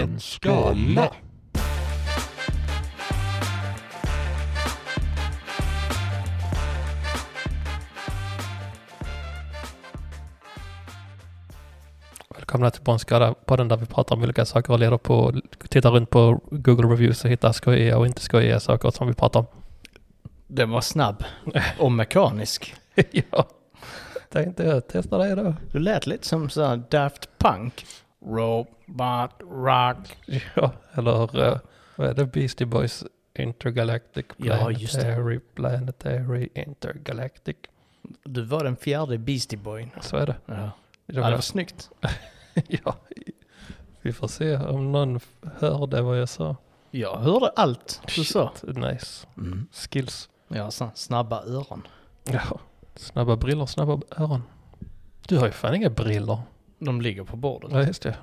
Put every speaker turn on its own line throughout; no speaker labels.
en skala.
Välkomna till Bonskada, podden där vi pratar om olika saker och leder på, tittar runt på Google Reviews och hittar skojiga och inte skojiga saker som vi pratar om.
Den var snabb och mekanisk.
ja, tänkte jag testa det då.
Du lät lite som så här Daft Punk. Robot Rock.
Ja, eller eh, vad är det? Beastie Boys Intergalactic
Ja, just det.
Planetary Planetary Intergalactic.
Du var den fjärde Beastie Boyn.
Så är det.
Ja.
Det
Ja,
var-
det var snyggt.
ja, vi får se om någon f- hörde vad jag sa.
Jag hörde allt du sa.
Shit, Nice. Skills.
Jag har så här snabba öron.
Ja. Snabba briller, snabba öron. Du har ju fan inga briller.
De ligger på bordet.
Ja, just det.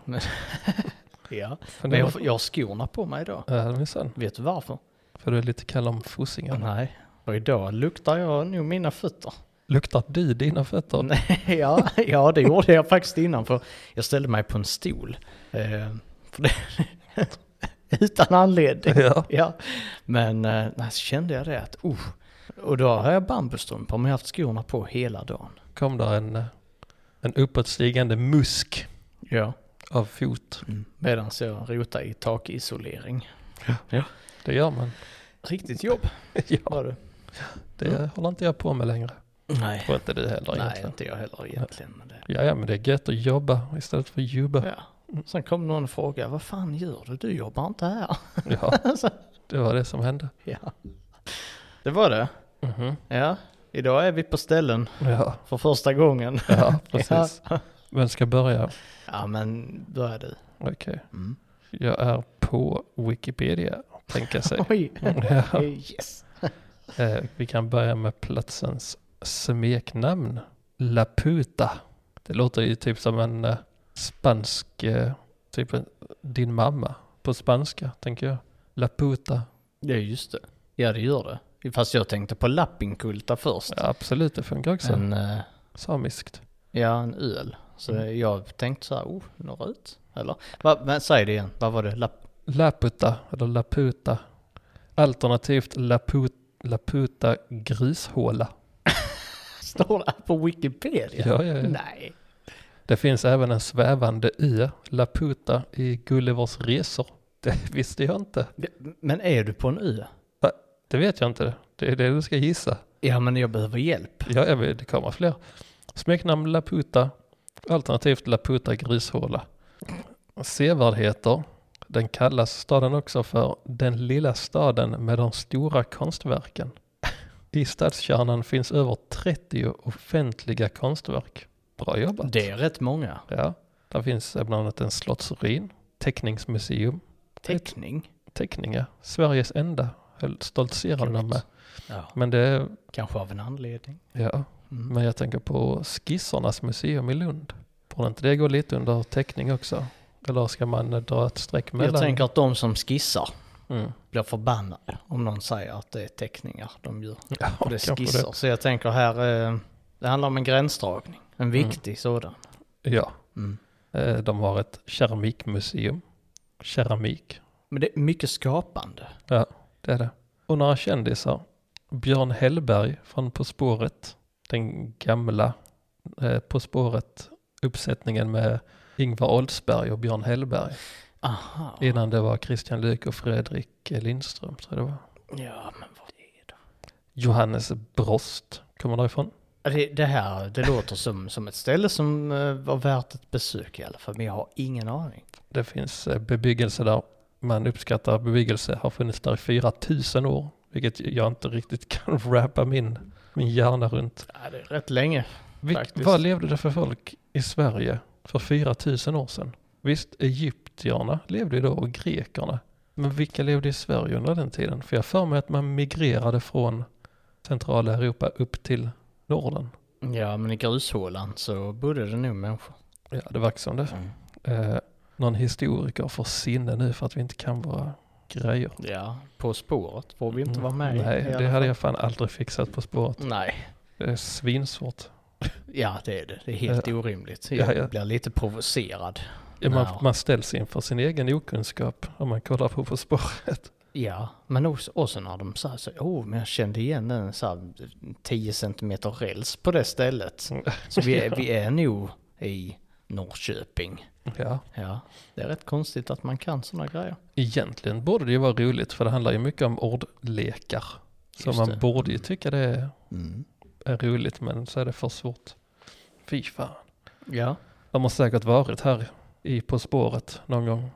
Ja.
För
Men jag, jag har skorna på mig idag.
Ja, minsann.
Vet du varför?
För du är lite kall om fossingarna.
Nej. Och idag luktar jag nog mina fötter.
Luktar du dina fötter?
Nej, ja, ja, det gjorde jag faktiskt innan för jag ställde mig på en stol. Eh, för det, utan anledning.
Ja.
Ja. Men eh, nej, så kände jag det att, uh, och då har jag bambustrumpor men jag har haft skorna på hela dagen.
Kom där en, eh, en uppåtstigande musk
Ja.
av fot.
Mm. Medan jag rotar i takisolering.
Det gör man.
Riktigt jobb
ja,
var det.
det håller inte jag på med längre.
Nej,
Och inte du heller
nej
egentligen.
inte jag heller egentligen. Men det,
Ja, ja, men det är gött att jobba istället för att jobba.
ja. Sen kom någon och frågade, vad fan gör du? Du jobbar inte här.
Ja, det var det som hände.
ja. Det var det.
Mhm.
Ja, idag är vi på ställen
Ja,
för första gången.
ja, precis. Vem ska börja?
Ja, men börja du.
Okej. Mm. Jag är på Wikipedia, tänka sig.
Oj!
Ja.
Yes!
Eh, vi kan börja med platsens smeknamn. Laputa. Det låter ju typ som en eh, spansk, eh, typ en, din mamma på spanska, tänker jag. Laputa.
Ja, just det. Ja, det gör det. Fast jag tänkte på Lappinkulta först.
Ja, absolut, det funkar också.
En, eh,
Samiskt.
ja, en öl. Så jag tänkte så här, oh, norrut. Eller? Va, men säg det igen, vad var det? Lapp...
Laputa, eller Laputa. Alternativt Laputa, Laputa grishåla.
Står det på Wikipedia?
Ja, ja, ja.
Nej.
Det finns även en svävande ö, Laputa, i Gullivers resor. Det visste jag inte.
Det- Men är du på en ö?
Va? Det vet jag inte. Det är det du ska gissa.
Ja, men jag behöver hjälp.
Ja, jag vet, det kommer fler. Smeknamn Laputa, alternativt Laputa grishåla. Sevärdheter. Den kallas staden också för den lilla staden med de stora konstverken. I stadskärnan finns över 30 offentliga konstverk. Bra jobbat.
Det är rätt många.
Ja, där finns bland annat en slottsruin, teckningsmuseum,
Teckning.
teckningar, Sveriges enda, höll- stoltserade de med.
Ja,
Men det är
kanske av en anledning.
Ja,
Mm.
men jag tänker på Skissernas museum i Lund. Borde inte det gå lite under teckning också? Eller ska man eh, dra ett streck mellan?
Jag tänker att de som skissar
Mm.
blir förbannade om någon säger att det är teckningar de gör.
Ja,
Och det är
kanske
skisser. Så jag tänker här, eh, det handlar om en gränsdragning. En viktig sådan.
det. Ja,
Mm.
eh, de har ett keramikmuseum. Keramik,
Men det är mycket skapande.
ja det är det. Och några kändisar. Björn Hellberg från På spåret. Den gamla eh, På spåret-uppsättningen med Ingvar Oldsberg och Björn Hellberg.
Aha.
Innan det var Christian Luuk och Fredrik eh, Lindström tror jag det var.
Ja, men vad är det?
Johannes Brost kommer därifrån.
det? Det här, det låter som, som ett ställe som eh, var värt ett besök i alla fall. Men jag har ingen aning.
Det finns eh, bebyggelse där. Man uppskattar att bebyggelse har funnits där i 4000 år, vilket jag inte riktigt kan wrappa min, min hjärna runt.
Ja, det är rätt länge.
Vil-
Faktiskt.
vad levde det för folk i Sverige för 4000 år sedan? Visst, egyptierna levde ju då och grekerna. Men vilka levde i Sverige under den tiden? För jag har för mig att man migrerade från centrala Europa upp till Norden.
Ja, men i grushålan så bodde det nog människor.
Ja, det verkar som det. Eh, någon historiker får sinne nu för att vi inte kan våra grejer.
Ja, På spåret får vi inte vara med i
Mm. Nej,
alla
det
fall.
hade jag fan aldrig fixat på spåret.
Nej,
Det är svinsvårt.
ja det är det. Det är helt orimligt.
ja,
Jag
ja.
blir lite provocerad
Ja,
Nej.
man, man ställs inför sin egen okunskap om man kollar på På spåret.
Ja, men också, också när de sa så, oh, men jag kände igen en så här 10 centimeter räls på det stället.
Mm.
Så vi är, vi är nog i Norrköping.
Ja,
Ja, det är rätt konstigt att man kan sådana grejer.
egentligen borde det ju vara roligt för det handlar ju mycket om ordlekar. Så
Just
man
det.
borde ju tycka det är, är roligt men så är det för svårt. Fy fan.
Ja,
De har säkert varit här i På spåret någon gång.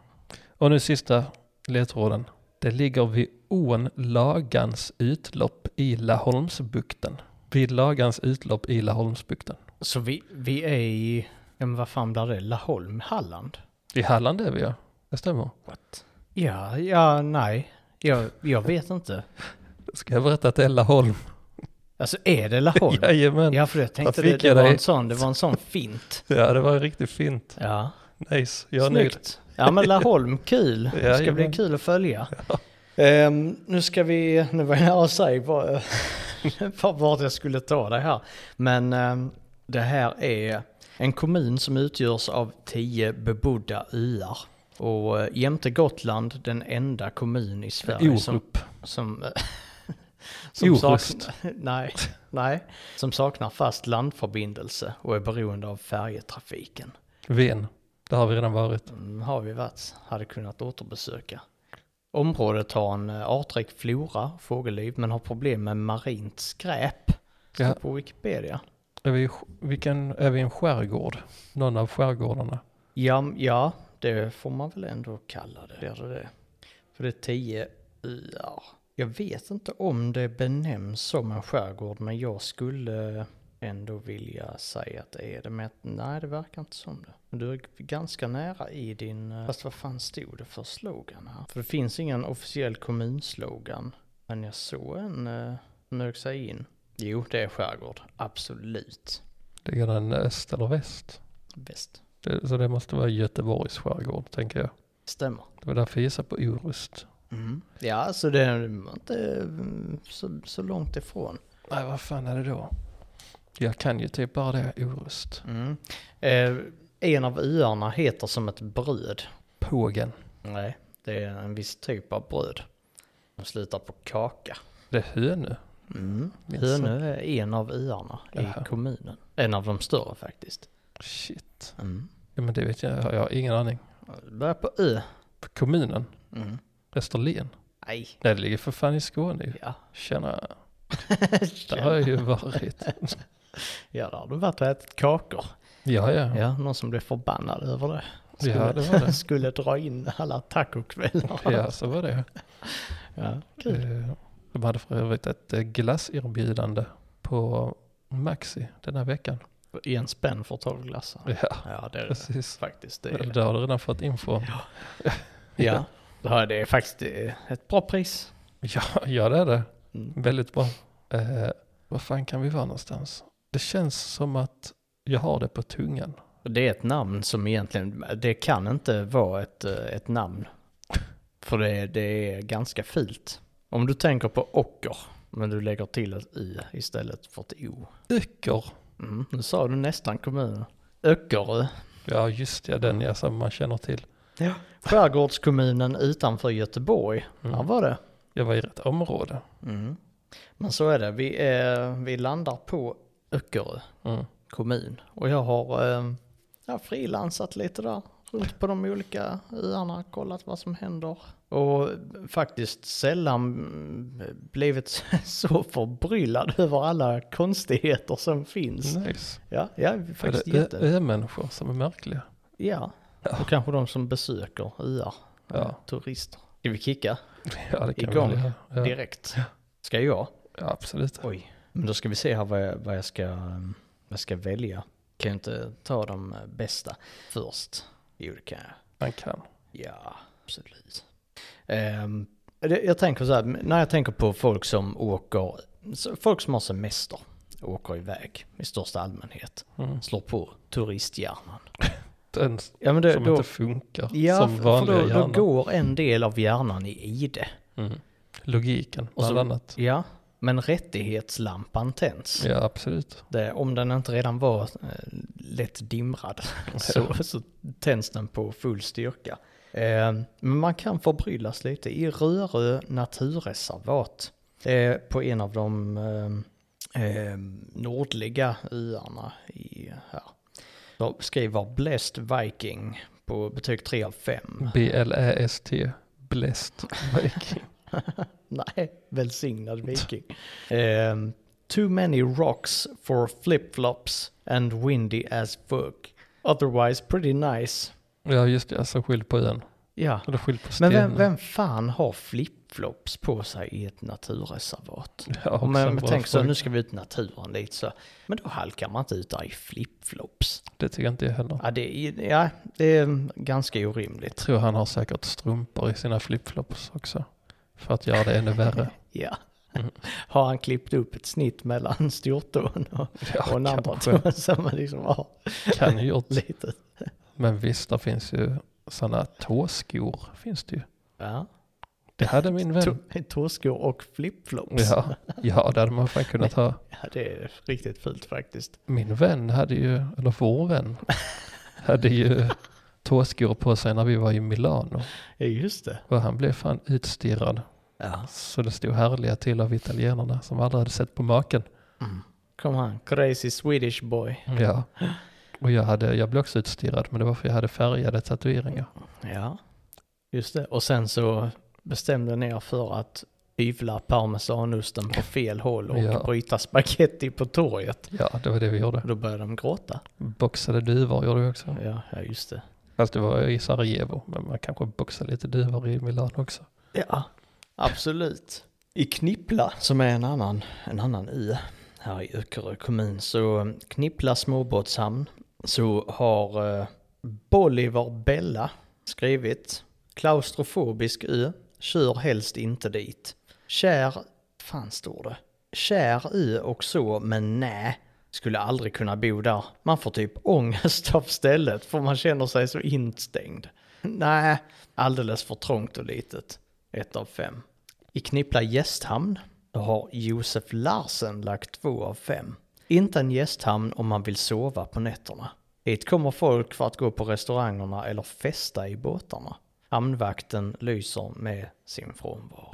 Och nu sista ledtråden. Det ligger vid ån Lagans utlopp i Laholmsbukten. Vid Lagans utlopp i Laholmsbukten.
så vi, vi är i, ja, men vad fan blir det, Laholm, Halland?
I Halland är vi ja. Det stämmer.
Ja, ja, nej, jag, jag vet inte.
Ska jag berätta att det är Laholm?
Alltså är det Laholm?
Jajamän. Ja.
Ja, för jag tänkte
Vad
det,
fick
det
jag
var
dig?
en sån, det var en sån fint.
det var riktigt fint.
Ja,
Nice. Jag är nöjd.
snyggt. Ja, men Laholm, kul. Det ska bli
Jajamän.
kul att följa. Ehm, nu ska vi, nu var jag nära att säga vad- vad- vart jag skulle ta det här. Men ehm, det här är en kommun som utgörs av tio bebodda öar. Och eh, jämte Gotland den enda kommun i Sverige som
Orup.
som, eh, som,
Orust.
saknar, nej, nej, som saknar fast landförbindelse och är beroende av färjetrafiken.
Ven. Det har vi redan varit.
Mm, har vi varit, hade kunnat återbesöka. Området har en eh, artrik flora, fågelliv, men har problem med marint skräp. Står
Ja.
på Wikipedia.
Är vi, i sk- vilken, är vi i en skärgård? Någon av skärgårdarna?
Ja, m- ja, det får man väl ändå kalla det. Är det, det? För det är tio öar. Jag vet inte om det benämns som en skärgård, men jag skulle ändå vilja säga att det är det. Men att- nej, det verkar inte som det. Men du är g- ganska nära i din... eh, Fast vad fan stod det för slogan här? För det finns ingen officiell kommunslogan. Men jag såg en eh, smög sig in. Jo, det är skärgård. Absolut.
Ligger den öst eller väst?
Bäst.
Det, så det måste vara Göteborgs skärgård, tänker jag.
Stämmer.
Det var därför jag gissade på Orust.
Ja, alltså det är inte mm, så, så långt ifrån.
Nej, vad fan är det då? Jag kan ju typ bara det, Orust.
Eh, en av öarna heter som ett bröd.
Pågen.
Nej, det är en viss typ av bröd. De slutar på kaka.
Det är Hönö.
Mm.
Minns jag.
Hönö är en av öarna
Jaha.
i kommunen. En av de större faktiskt.
Shit.
Mm.
Ja, men det vet jag. Jag har ingen aning.
Börjar på ö.
Kommunen?
Mm.
Österlen?
Nej,
Nej, det ligger för fan i Skåne ju.
ja.
Tjena. Där har jag ju varit.
ja, där har du varit och ätit kakor.
Ja, ja.
Ja, någon som blev förbannad över det. Skulle,
Ja, det var det.
skulle dra in alla tacokvällar.
Ja, så var det.
Ja, kul.
Eh, De hade för övrigt ett eh, glasserbjudande på Maxi den här veckan.
I en spänn för 12 glassar.
Ja,
Ja, det är det
precis.
faktiskt. Det
Eller
är,
Där har du redan fått info.
ja. ja, det är faktiskt eh, ett bra pris.
Ja, ja det är det.
Mm.
Väldigt bra. Eh, vad fan kan vi vara någonstans? Det känns som att jag har det på tungan.
Det är ett namn som egentligen, det kan inte vara ett, eh, ett namn. För det, är- det är ganska fult. Om du tänker på ocker, men du lägger till ett i istället för ett o.
Öcker.
Mm. Nu sa du nästan kommunen. Öckerö.
Ja, just det. Den jag som man känner till.
Ja. Skärgårdskommunen utanför Göteborg.
Mm.
Där var det.
Jag var i rätt område.
Mm. Men så är det, vi, eh, vi landar på Öckerö.
Mm.
kommun. Och jag har eh, jag har frilansat lite där. Runt på de olika öarna, kollat vad som händer. Och faktiskt sällan mm, blivit så förbryllad över alla konstigheter som finns.
Nice.
Ja, jag är
Är
faktiskt
Mm. det ö-
jätte...
ö-människor som är märkliga?
Ja.
Ja.
Och kanske de som besöker öar, eh,
Ja.
turister. Ska vi kicka
Ja, det kan
Igång.
vi väl göra. ja.
direkt? Ska jag?
ja, absolut.
Oj. Men då ska vi se här vad jag, vad jag, ska, um, vad jag ska välja. Kan jag inte ta de eh, bästa först? Jo, det kan jag.
Man kan.
Ja, absolut. Ehm, det- jag tänker så här, när jag tänker på folk som åker, så folk som har semester, åker iväg i största allmänhet,
Mm.
slår på turisthjärnan.
Den
Ja, men det,
som
då,
inte funkar
ja,
som
för
vanliga
då, då
hjärnor.
går en del av hjärnan i ide.
Mm. Logiken,
Och så-
bland annat.
Ja, Men rättighetslampan tänds.
Ja, absolut.
Det, om den inte redan var eh, lätt dimrad så, så tänds den på full styrka. Eh, men man kan förbryllas lite. I Rörö naturreservat, eh, på en av de eh, eh, nordliga öarna i här, de skriver Blessed Viking på betyg 3 av 5.
B-L-Ä-S-T. Blessed Viking.
Nej, välsignad viking. Ehm, too many rocks for flip-flops and windy as fuck. Otherwise pretty nice.
Ja, just det. Alltså skyll på ön.
Ja,
Eller skyll på
men
stenen.
vem, vem fan har flip-flops på sig i ett naturreservat?
Ja, också
Om man
en
men
bra
tänker så,
fråga.
nu ska vi ut i naturen lite så. Men då halkar man inte ut där i flip-flops.
Det tycker jag inte jag heller.
Ja, det är, ja, det är ganska
Jag
orimligt.
tror han har säkert strumpor i sina flipflops också. För att göra det ännu värre.
Ja.
Mm.
Har han klippt upp ett snitt mellan stortån och
Ja,
och en andra
kanske.
tummen som man liksom har
Kan ju gjort.
lite.
Men visst, det finns ju sådana tåskor. Finns det ju.
Ja.
Det hade min vän.
Tå- Tåskor och flipflops. Ja.
Ja, ja, det hade man fan kunnat ha.
det är riktigt fult faktiskt.
Min vän hade ju, eller vår vän, hade ju tåskor på sig när vi var i Milano.
Ja, just det.
Och han blev fan utstirrad.
Ja.
Så det stod härliga till av italienarna som aldrig hade sett på maken.
Mm. Kom han, crazy Swedish boy.
Ja. Och jag, hade, jag blev också utstirrad, men det var för jag hade färgade tatueringar.
Ja, just det. Och sen så bestämde ni er för att hyvla parmesanosten på fel håll och
Ja.
bryta spaghetti på torget.
Ja, det var det vi gjorde.
Och då började de gråta.
Boxade duvor gjorde vi också.
Ja, ja just det.
Fast det var i Sarajevo, men man kanske boxade lite duvor i Milano också.
Ja, absolut. I Knippla, som är en annan, en annan ö här i Öckerö kommun, så Knippla småbåtshamn så har eh, Bolivar Bella skrivit klaustrofobisk ö, kör helst inte dit. Kär, fan står det, kär ö och så, men nä. Skulle aldrig kunna bo där. Man får typ ångest av stället för man känner sig så instängd. Nej, alldeles för trångt och litet. Ett av fem. I Knippla gästhamn då har Josef Larsen lagt två av fem. Inte en gästhamn om man vill sova på nätterna. Hit kommer folk för att gå på restaurangerna eller festa i båtarna. Hamnvakten lyser med sin frånvaro.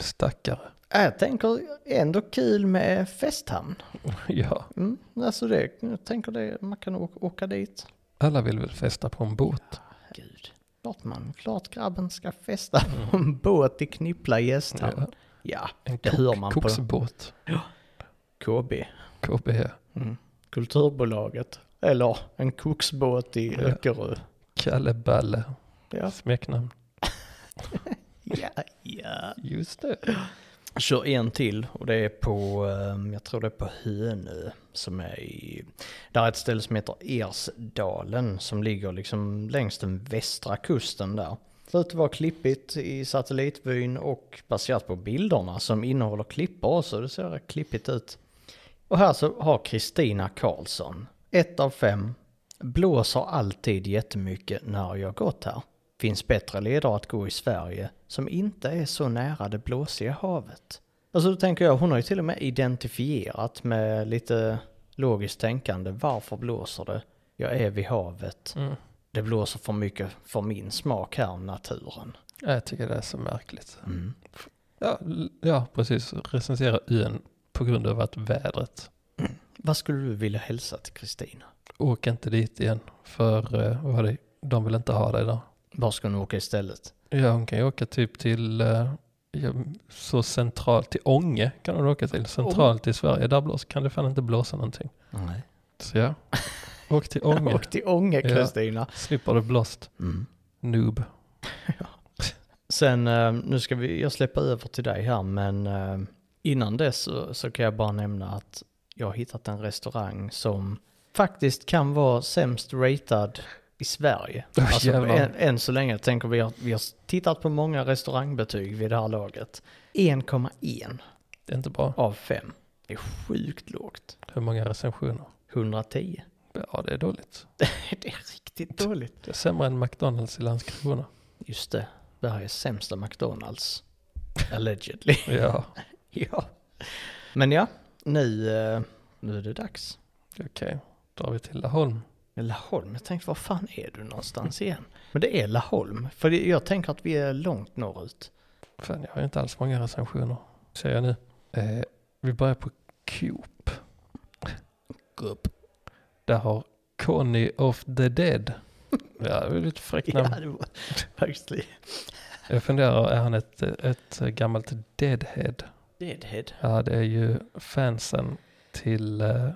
Stackare.
Jag tänker ändå kul med festhamn.
Ja,
Mm, alltså det, jag tänker det, man kan åka, åka dit.
alla vill väl festa på en båt?
Gud. Klart man, klart grabben ska festa på en båt i Knippla gästhamn. Ja,
En
det hör man på
koksbåt.
KB.
KB.
Mm. Kulturbolaget. Eller en koksbåt i
Ja.
Öckerö.
Kalle Balle.
Ja.
Smeknamn.
ja, ja.
Just det.
Kör en till och det är på, eh, jag tror det är på Hönö som är i, där är ett ställe som heter Ersdalen som ligger liksom längs den västra kusten där. Ser ut att vara klippigt i satellitvyn och baserat på bilderna som innehåller klippor så det ser rätt klippigt ut. Och här så har Kristina Karlsson, ett av fem, blåser alltid jättemycket när jag gått här. Finns bättre leder att gå i Sverige som inte är så nära det blåsiga havet. Alltså då tänker jag, hon har ju till och med identifierat med lite logiskt tänkande, varför blåser det? Jag är vid havet.
Mm.
Det blåser för mycket för min smak här, naturen.
Ja, Jag tycker det är så märkligt.
Mm.
Ja, l- ja precis. Recensera ön på grund av att vädret.
Vad skulle du vilja hälsa till Kristina?
Åk inte dit igen. För eh, vad var det? de vill inte ha dig där.
Var ska hon åka istället?
Ja, hon kan ju åka typ till eh, ja, så centralt, till Ånge kan hon åka till. Centralt i Sverige, där blås, kan det fan inte blåsa någonting.
Nej.
Så ja, åk till Ånge.
Åk till Ånge,
Ja.
Kristina.
Slipper du blåst, noob.
Sen, eh, nu ska vi, jag släppa över till dig här, men eh, innan dess så, så kan jag bara nämna att jag har hittat en restaurang som faktiskt kan vara sämst ratad i Sverige.
Åh,
alltså,
jävlar.
än, än så länge tänker vi att vi har tittat på många restaurangbetyg vid det här laget. 1,1
Det är inte bra.
av 5. Det är sjukt lågt.
Hur många recensioner?
110.
Ja, det är dåligt.
Det är riktigt dåligt.
Det är sämre än McDonalds i Landskrona.
Just det, det här är sämsta McDonalds. Allegedly.
Ja,
ja. Men ja, nu, eh, nu är det dags.
Okej, drar vi till Laholm.
Laholm, jag tänkte var fan är du någonstans igen? Men det är Laholm, för det- jag tänker att vi är långt norrut.
Fan, jag har ju inte alls många recensioner, säger jag nu. Eh, vi börjar på Coop.
Gubb.
Där har Conny of the Dead. Ja, det är lite fräckt
Ja,
namn.
det var faktiskt li-
Jag funderar, är han ett, ett gammalt deadhead?
Deadhead.
Ja, det är ju fansen till eh,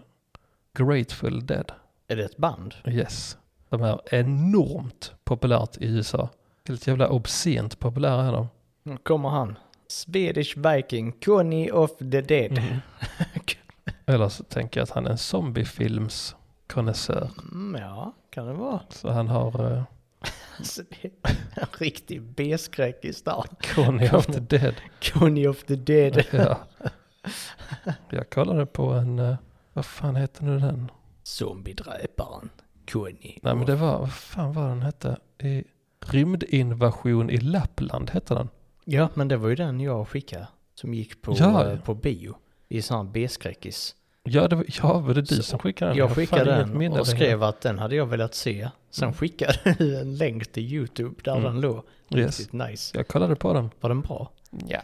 Grateful Dead.
Är det ett band?
Yes. De är enormt populärt i USA. Helt jävla obscent populära är de.
Nu kommer han. Swedish Viking, Conny of the Dead.
Mhm. Eller så tänker jag att han är en zombiefilmskonnässör.
Mm, ja, kan det vara.
Så han har eh,
Alltså, det är en riktig B-skräck i stan.
Conny of the Dead.
Conny of the Dead.
Ja. Jag kollade på en, eh, vad fan heter nu den?
Zombiedräparen, Conny.
Nej men det var, vad fan var den hette? I Rymdinvasion i Lappland hette den.
Ja, men det var ju den jag skickade. Som gick på,
Ja, ja.
eh, på bio. I sån här B-skräckis.
Ja, det var, ja, var det du
Så,
som skickade den?
Jag
har fan
skickade
inget
den
minne
och
längre.
skrev att den hade jag velat se. Sen
Mm.
skickade du en länk till YouTube där
Mm.
den låg.
Yes.
Riktigt nice.
Jag kollade på den.
Var den bra?
Ja,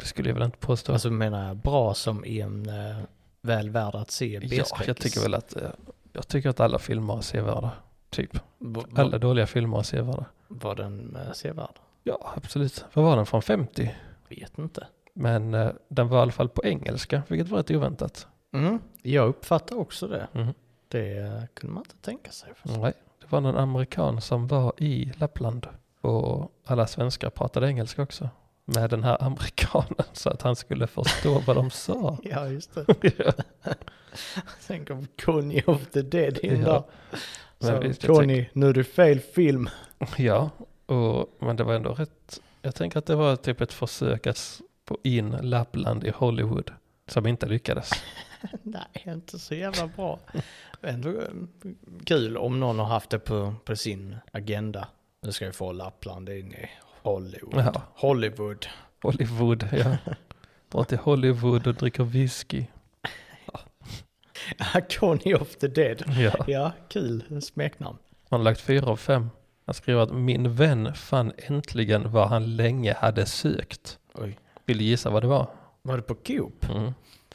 det skulle jag väl inte påstå.
Alltså menar jag bra som i en eh, väl värd att se
ja,
B-skräckis?
jag tycker väl att, eh, jag tycker att alla filmer är sevärda. Typ.
Va- va-
Alla dåliga filmer är sevärda.
Var den eh, sevärd?
Ja, absolut. Vad var den från 50?
Vet inte.
Men eh, den var i alla fall på engelska, vilket var rätt oväntat.
Mm, jag uppfattar också det.
Mhm.
Det eh, kunde man inte tänka sig.
Nej, det var någon amerikan som var i Lappland och alla svenskar pratade engelska också med den här amerikanen så att han skulle förstå vad de sa.
Ja, just det. Sen kom Conny of the Dead in
Ja.
där.
Men
Så,
visst, jag
Conny, nu är det fel film.
Ja, och, men det var ändå rätt. Jag tänker att det var typ ett försök att s- få in Lappland i Hollywood som inte lyckades.
Nej, inte så jävla bra. Ändå eh, kul om någon har haft det på, på sin agenda. Nu ska vi få Lappland in i Hollywood.
Ja,
Hollywood.
Hollywood, ja. Dra till Hollywood och dricker whisky.
Conny of the Dead.
Ja.
Ja, kul smeknamn.
Han har lagt fyra av fem. Han skriver att min vän fann äntligen vad han länge hade sökt.
Oj.
Vill du gissa vad det var?
Var det på Coop?
Mm.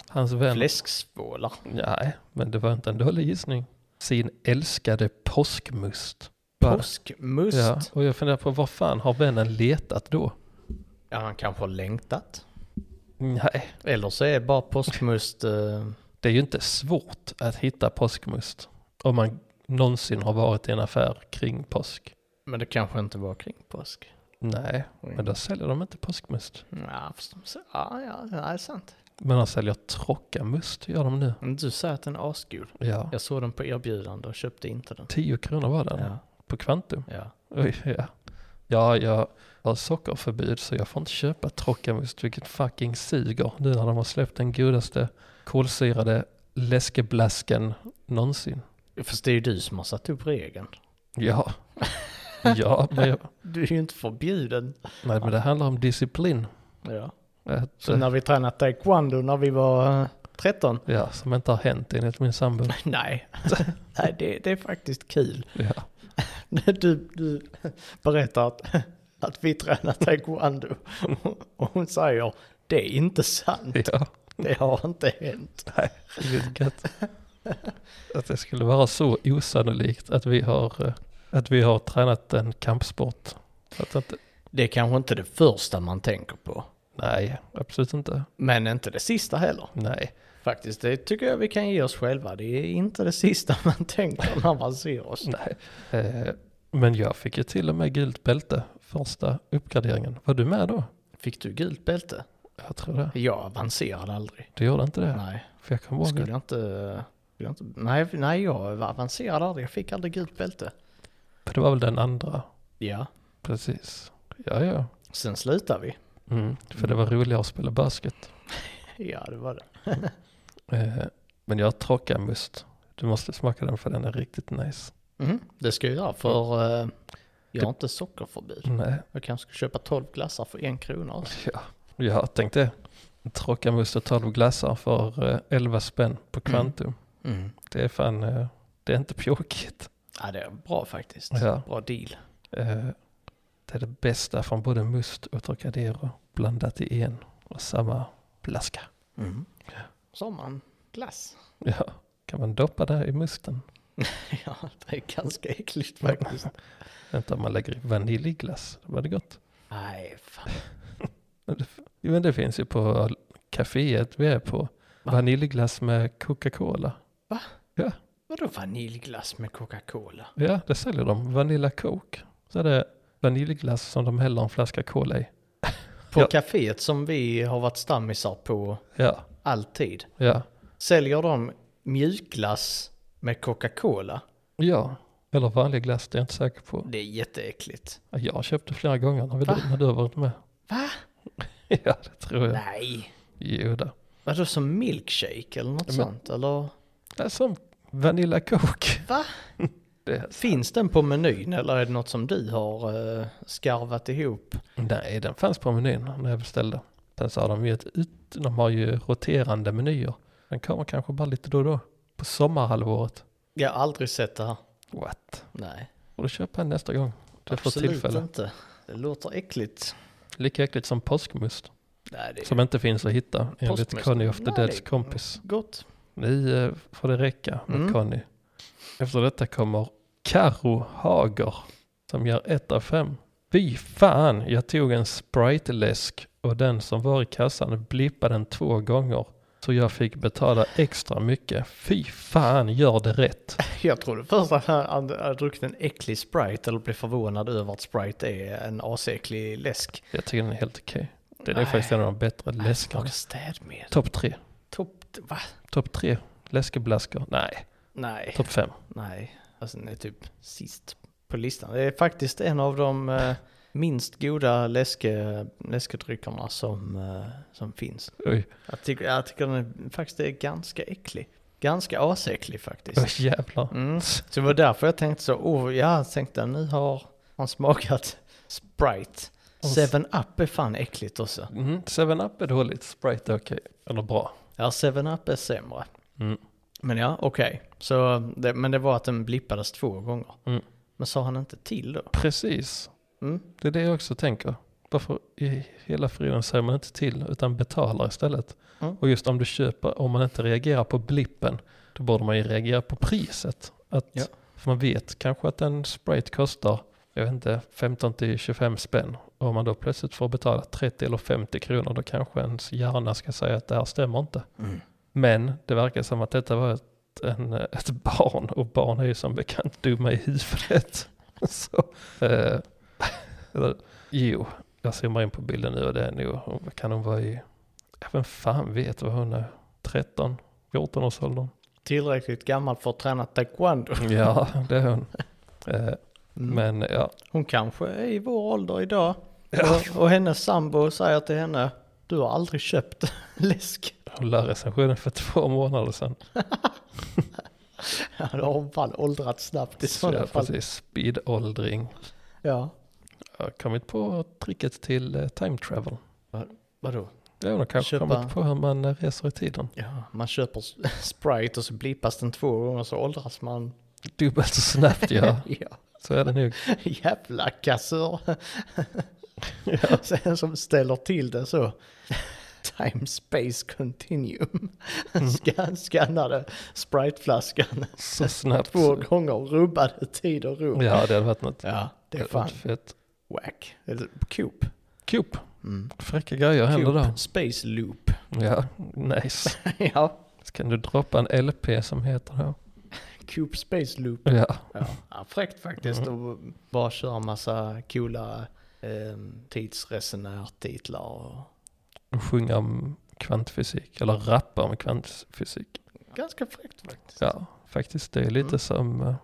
Hans vän...
Fläsksvålar.
Nej, men det var inte en dålig gissning. Sin älskade påskmust. Bara-
Påskmust.
Ja,
Ja.
och jag funderar på vad fan har vännen letat då?
han kanske har längtat.
Nej,
Eller så är bara påskmust... eh,
det är ju inte svårt att hitta påskmust. Om man någonsin har varit i en affär kring påsk.
men det kanske inte var kring påsk.
Nej,
Oj.
men då säljer de inte påskmust.
Ja, fast de säger- ja, ja, det är sant.
Men de säljer tråckamust, gör de nu.
Men Du säger att den är asgod.
Ja.
Jag såg den på erbjudande och köpte inte den.
10 kronor var den
Ja,
på Kvantum.
ja.
Oj, ja. ja, jag har sockerförbud så jag får inte köpa Trockamust vilket fucking suger nu när de har släppt den godaste kolsyrade läskeblasken någonsin.
Fast det är ju du som har satt upp regeln.
Ja, ja men, jag,
Du är ju inte förbjuden.
nej, men det handlar om disciplin.
Ja.
Att,
Så
eh,
när vi tränade taekwondo när vi var eh, 13?
ja, som inte har hänt enligt min sambo.
Nej, Nej det, det är faktiskt kul.
Ja.
Du, du berättar att, att vi tränar taekwondo och hon säger det är inte sant,
ja,
det har inte hänt.
riktigt gött. Att det skulle vara så osannolikt att vi har, eh, att vi har tränat en kampsport. Att inte,
Det är kanske inte det första man tänker på,
nej, absolut inte.
men inte det sista heller.
Nej,
Faktiskt, det tycker jag vi kan ge oss själva. Det är inte det sista man tänker när man ser oss.
nej. Eh, men jag fick ju till och med gult bälte första uppgraderingen. Var du med då?
Fick du gult bälte?
Jag tror det.
Jag avancerade aldrig.
Du gjorde inte det?
Nej,
För jag kommer ihåg
skulle
att
jag inte... Skulle jag inte nej, nej, jag avancerade aldrig. Jag fick aldrig gult bälte.
för det var väl den andra.
Ja,
Precis. Ja, ja.
sen slutade vi.
Mm, för det var roligare att spela basket.
Ja, det var det.
Eh, men jag har tråkamust. Du måste smaka den för den är riktigt nice.
Mm, det ska jag göra för eh, jag har inte sockerförbud.
Nej,
Jag kanske ska köpa 12 glassar för en krona.
ja. Jag tänkte Trockamus och 12 glassar för eh, 11 spänn på Quantum.
Mm.
Det är fan, eh, det är inte pjåkigt.
Ja, det är bra faktiskt.
Ja.
Bra deal.
Eh, Det är det bästa från både Must och Trocadero blandat i en och samma flaska.
Mm. Så har man glass.
Ja, kan man doppa det här i musten?
ja, det är ganska äckligt faktiskt.
Inte om man lägger i vaniljglass, då var det gott.
Nej, fan.
Jo, men det finns ju på kaféet vi är på.
Va?
Vaniljglass med Coca-Cola.
Vadå vaniljglass med Coca-Cola?
Ja, det säljer de. Vanilla Coke. Så är det vaniljglass som de häller en flaska cola i.
På
Ja.
kaféet som vi har varit stammisar på
Ja,
alltid.
ja,
Säljer de mjukglass med Coca-Cola?
ja. Eller vanlig glass, det är jag inte säker på.
Det är jätteäckligt.
Ja, Jag köpte flera gånger när, vi,
Va?
när du har varit med.
Va?
Ja, det tror jag.
Nej.
Jo då.
Vadå som milkshake eller något
Men-
sånt? Eller?
Det är som Vanilla Coke.
Va?
Det är,
Finns den på menyn eller är det något som du har eh, skarvat ihop?
nej, den fanns på menyn när jag beställde. Sen så har de ju ett ut, de har ju roterande menyer. Den kommer kanske bara lite då och då. På sommarhalvåret.
Jag har aldrig sett det här.
What?
Nej,
Och då köper jag nästa gång. Det får
absolut
tillfälle.
inte. Det låter äckligt.
Lika äckligt som påskmust.
Nej, det är
Som inte finns att hitta enligt
Eh, Påskmust?
Conny of the
Nej,
Deads
det-
kompis.
gott.
Nu eh, får det räcka med
Mm.
Conny. Efter detta kommer Karo Hager som gör ett av fem. Fy fan, jag tog en Sprite-läsk och den som var i kassan blippade den två gånger. Så jag fick betala extra mycket. Fy fan, gör det rätt.
Jag trodde först att han hade hade druckit en äcklig Sprite eller blev förvånad över att Sprite är en asäcklig läsk.
Jag tycker den är helt okej. Den är
Nej.
faktiskt en av de bättre läskarna.
Fråga städmedel.
Topp tre.
Topp... Va?
Topp tre läskeblaskor. Nej,
Nej.
topp fem.
Nej. Alltså den är typ sist på listan. Det är faktiskt en av de eh, minst goda läske, läskedryckerna som, eh, som finns.
Oj,
Jag tycker, jag tycker den är, faktiskt är ganska äcklig. Ganska asäcklig
oj
faktiskt.
jävlar.
Mm. Så det var därför jag tänkte så, oh ja, jag tänkte nu har han smakat Sprite.
Och s-
Seven up är fan äckligt också.
Mm, 7-Up är dåligt, Sprite är okej. Eller bra.
Ja, 7-Up är sämre.
Mm.
Men ja, okej. Så det- Men det var att den blippades två gånger.
Mm.
Men sa han inte till då?
Precis,
Mm.
det är det jag också tänker. Varför i hela friden säger man inte till utan betalar istället?
Mm.
Och just om du köper, om man inte reagerar på blippen, då borde man ju reagera på priset. Att,
Ja.
För man vet kanske att en Sprite kostar, jag vet inte, 15-25 spänn. Och om man då plötsligt får betala 30 eller 50 kronor, då kanske ens hjärna ska säga att det här stämmer inte.
Mm.
Men det verkar som att detta var ett, en, ett barn och barn är ju som bekant dumma i huvudet. Så, eh, eller, jo, jag zoomar in på bilden nu och det är nog, hon- vad kan hon vara i, ja, vem fan vet vad hon är, 13, 14 års åldern.
Tillräckligt gammal för att träna taekwondo.
Ja, det är hon. Eh,
Mm.
men ja,
Hon kanske är i vår ålder idag. Och, och hennes sambo säger till henne, du har aldrig köpt läsk.
hon lär recensionen för två månader sedan.
Ja, då har hon fan åldrats snabbt i
Så
sådana
jag
fall.
precis, speedåldring.
Ja.
Jag har kommit på tricket till eh, time travel.
Vadå?
Det har hon kanske
Köpa-
kommit på hur man eh, reser i tiden.
Ja, man köper s- Sprite och så blippas den två gånger så åldras man.
Dubbelt så snabbt ja,
ja.
så är det nog.
Jävla kassör. Sen som ställer till det så. Time space continuum.
Mm.
Scan, skannade spriteflaskan
Så snabbt.
två gånger och rubbade tid och rum.
Ja, det hade varit något.
Ja, det är
Det hade
fan
varit fett.
whack. Eller Coop.
Coop,
Mm.
fräcka grejer händer då.
Coop Space loop.
Ja, nice.
ja,
Så kan du droppa en LP som heter då?
Coop Space loop.
Ja, Mm.
Ja, ja fräckt faktiskt. Och bara köra massa coola eh, tidsresenärtitlar och
och sjunga om kvantfysik, eller rappa om kvantfysik.
ganska fräckt faktiskt.
Ja, faktiskt det är lite
Mm.
som eh,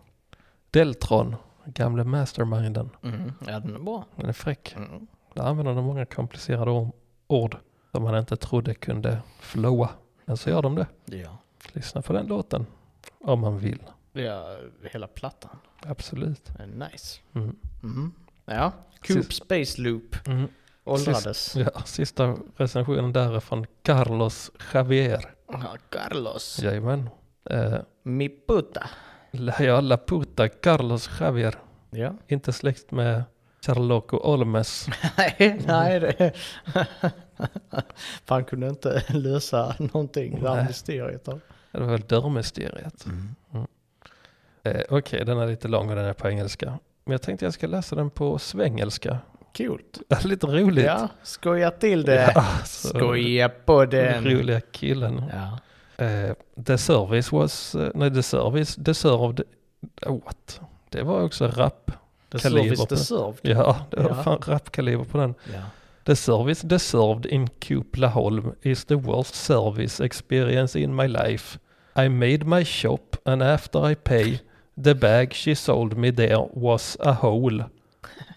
Deltron, gamle masterminden.
Mm. Ja, den är bra.
Den är fräck.
Mm.
Där använder de många komplicerade or- ord som man inte trodde kunde flowa. Men så gör de det.
Ja.
Lyssna på den låten om man vill.
ja, hela plattan.
Absolut.
Den är Nice.
Mm.
Mm. Ja, Coop
Precis.
Space Loop.
Mm.
åldrades.
Ja, sista recensionen där är från Carlos Javier.
Ja, Carlos.
Jajamän. Eh,
Mi puta.
La- ja, La Puta Carlos Javier.
Ja.
Inte släkt med Charloco Olmes.
Nej, nej det... Fan kunde inte lösa någonting, det här
Nej. Mm.
mysteriet. då.
Det var väl dörrmysteriet. Eh, Okej, den är lite lång och den är på engelska. Men jag tänkte jag ska läsa den på svengelska.
Coolt.
lite roligt.
Ja, skoja till det.
Ja, så-
Skoja på
Den
den.
roliga killen.
Ja.
Eh, the service was, eh, nej the service deserved, oh, what? Det var också rap.
The
Kaliber
service
på-
deserved.
Ja, det var
Ja.
fan rapkaliber på den.
Ja.
The service deserved in Kuplaholm is the worst service experience in my life. I made my shop and after I pay, the bag she sold me there was a hole.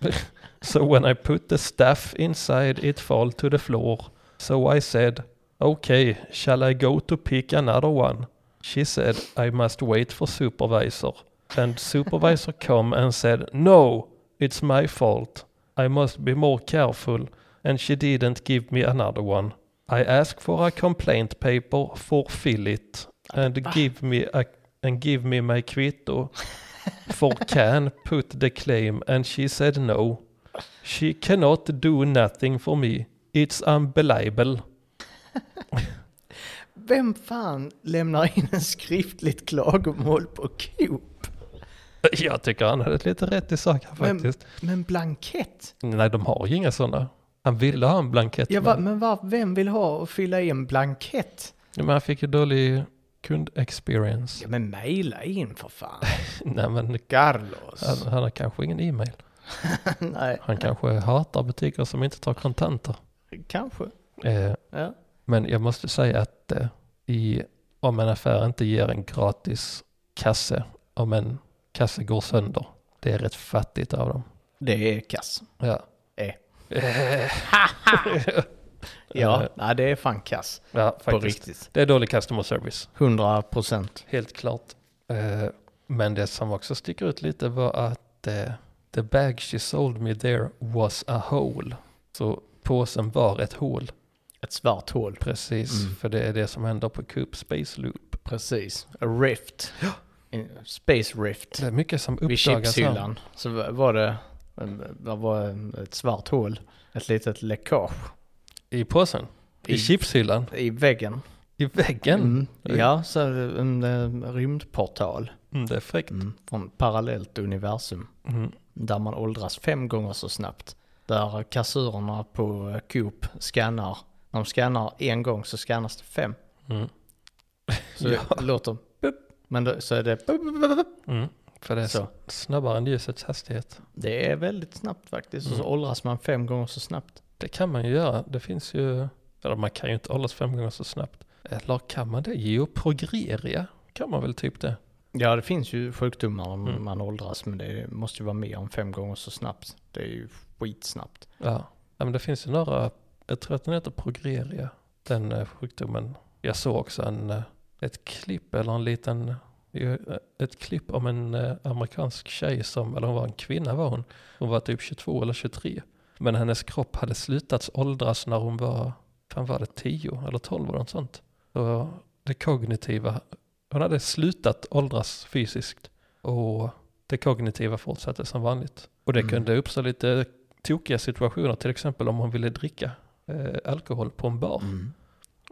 so when I put the stuff inside it fall to the floor. So I said, okay, shall I go to pick another one? She said, I must wait for supervisor. And supervisor come and said, no, it's my fault. I must be more careful. And she didn't give me another one. I asked for a complaint paper, fulfill it, and
Ah.
give me a and give me my quitto. For can put the claim, and she said no. She cannot do nothing for me. It's unbelievable.
Vem fan lämnar in en skriftligt klagomål på Coop?
Jag tycker han hade lite rätt i saken
Men-
faktiskt.
Men blankett?
Nej, de har ju inga sådana. Han ville ha en blankett.
Ja, va,
men,
men va, vem vill ha och fylla i en blankett?
men han fick ju dålig kundexperience.
Ja, men mejla in för fan.
Nej, men
Carlos.
han, han har kanske ingen e-mail.
Nej,
Han kanske hatar butiker som inte tar kontanter.
kanske.
Eh,
Ja.
men jag måste säga att eh, i, om en affär inte ger en gratis kasse, om en kasse går sönder, det är rätt fattigt av dem.
Det är kass.
Ja.
Eh.
Eh,
Ja,
Eh.
nej, det är fan kass.
ja,
På
faktiskt.
riktigt.
Det är dålig customer service.
100 procent.
Helt klart. Eh, men det som också sticker ut lite var att eh, the bag she sold me there was a hole. Så påsen var ett hål,
Ett svart hål.
precis.
Mm.
För det är det som händer på Coop Space Loop.
Precis. A rift. In- Space rift.
Det är mycket som
Vid
uppdagas här.
chipshyllan. Så va- var det, ehm, det var ett svart hål. Ett litet läckage
I påsen? I,
I-
chipshyllan?
i väggen.
I väggen? Mm.
Mm. Ja, så en, eh, rymdportal.
det är fräckt.
Mm. Från parallellt universum.
Mm.
där man åldras fem gånger så snabbt. Där kassörerna på Coop scannar, när de scannar en gång så scannas det fem.
Mm.
Så det låter bup, men då, så är det bup, bup, bup, bup.
Mm. För det är
så.
snabbare än ljusets hastighet.
Det är väldigt snabbt faktiskt och så
Mm.
åldras man fem gånger så snabbt.
Det kan man ju göra. Det finns ju, eller man kan ju inte åldras fem gånger så snabbt. Eller kan man det? Geoprogreria? Kan man väl typ det?
Ja det finns ju sjukdomar om
Mm.
man åldras men det måste ju vara mer än fem gånger så snabbt. Det är ju skitsnabbt.
Ja, ja men det finns ju några, jag tror att den heter progreria, den eh, sjukdomen. Jag såg också en, eh, ett klipp eller en liten, eh, ett klipp om en eh, amerikansk tjej som, eller hon var en kvinna var hon, hon var typ 22 eller 23. Men hennes kropp hade slutat åldras när hon var, fan var det 10 eller 12 eller något sånt. Så det kognitiva, hon hade slutat åldras fysiskt och det kognitiva fortsatte som vanligt. Och det
Mm.
kunde uppstå lite tokiga situationer, till exempel om hon ville dricka eh, alkohol på en bar.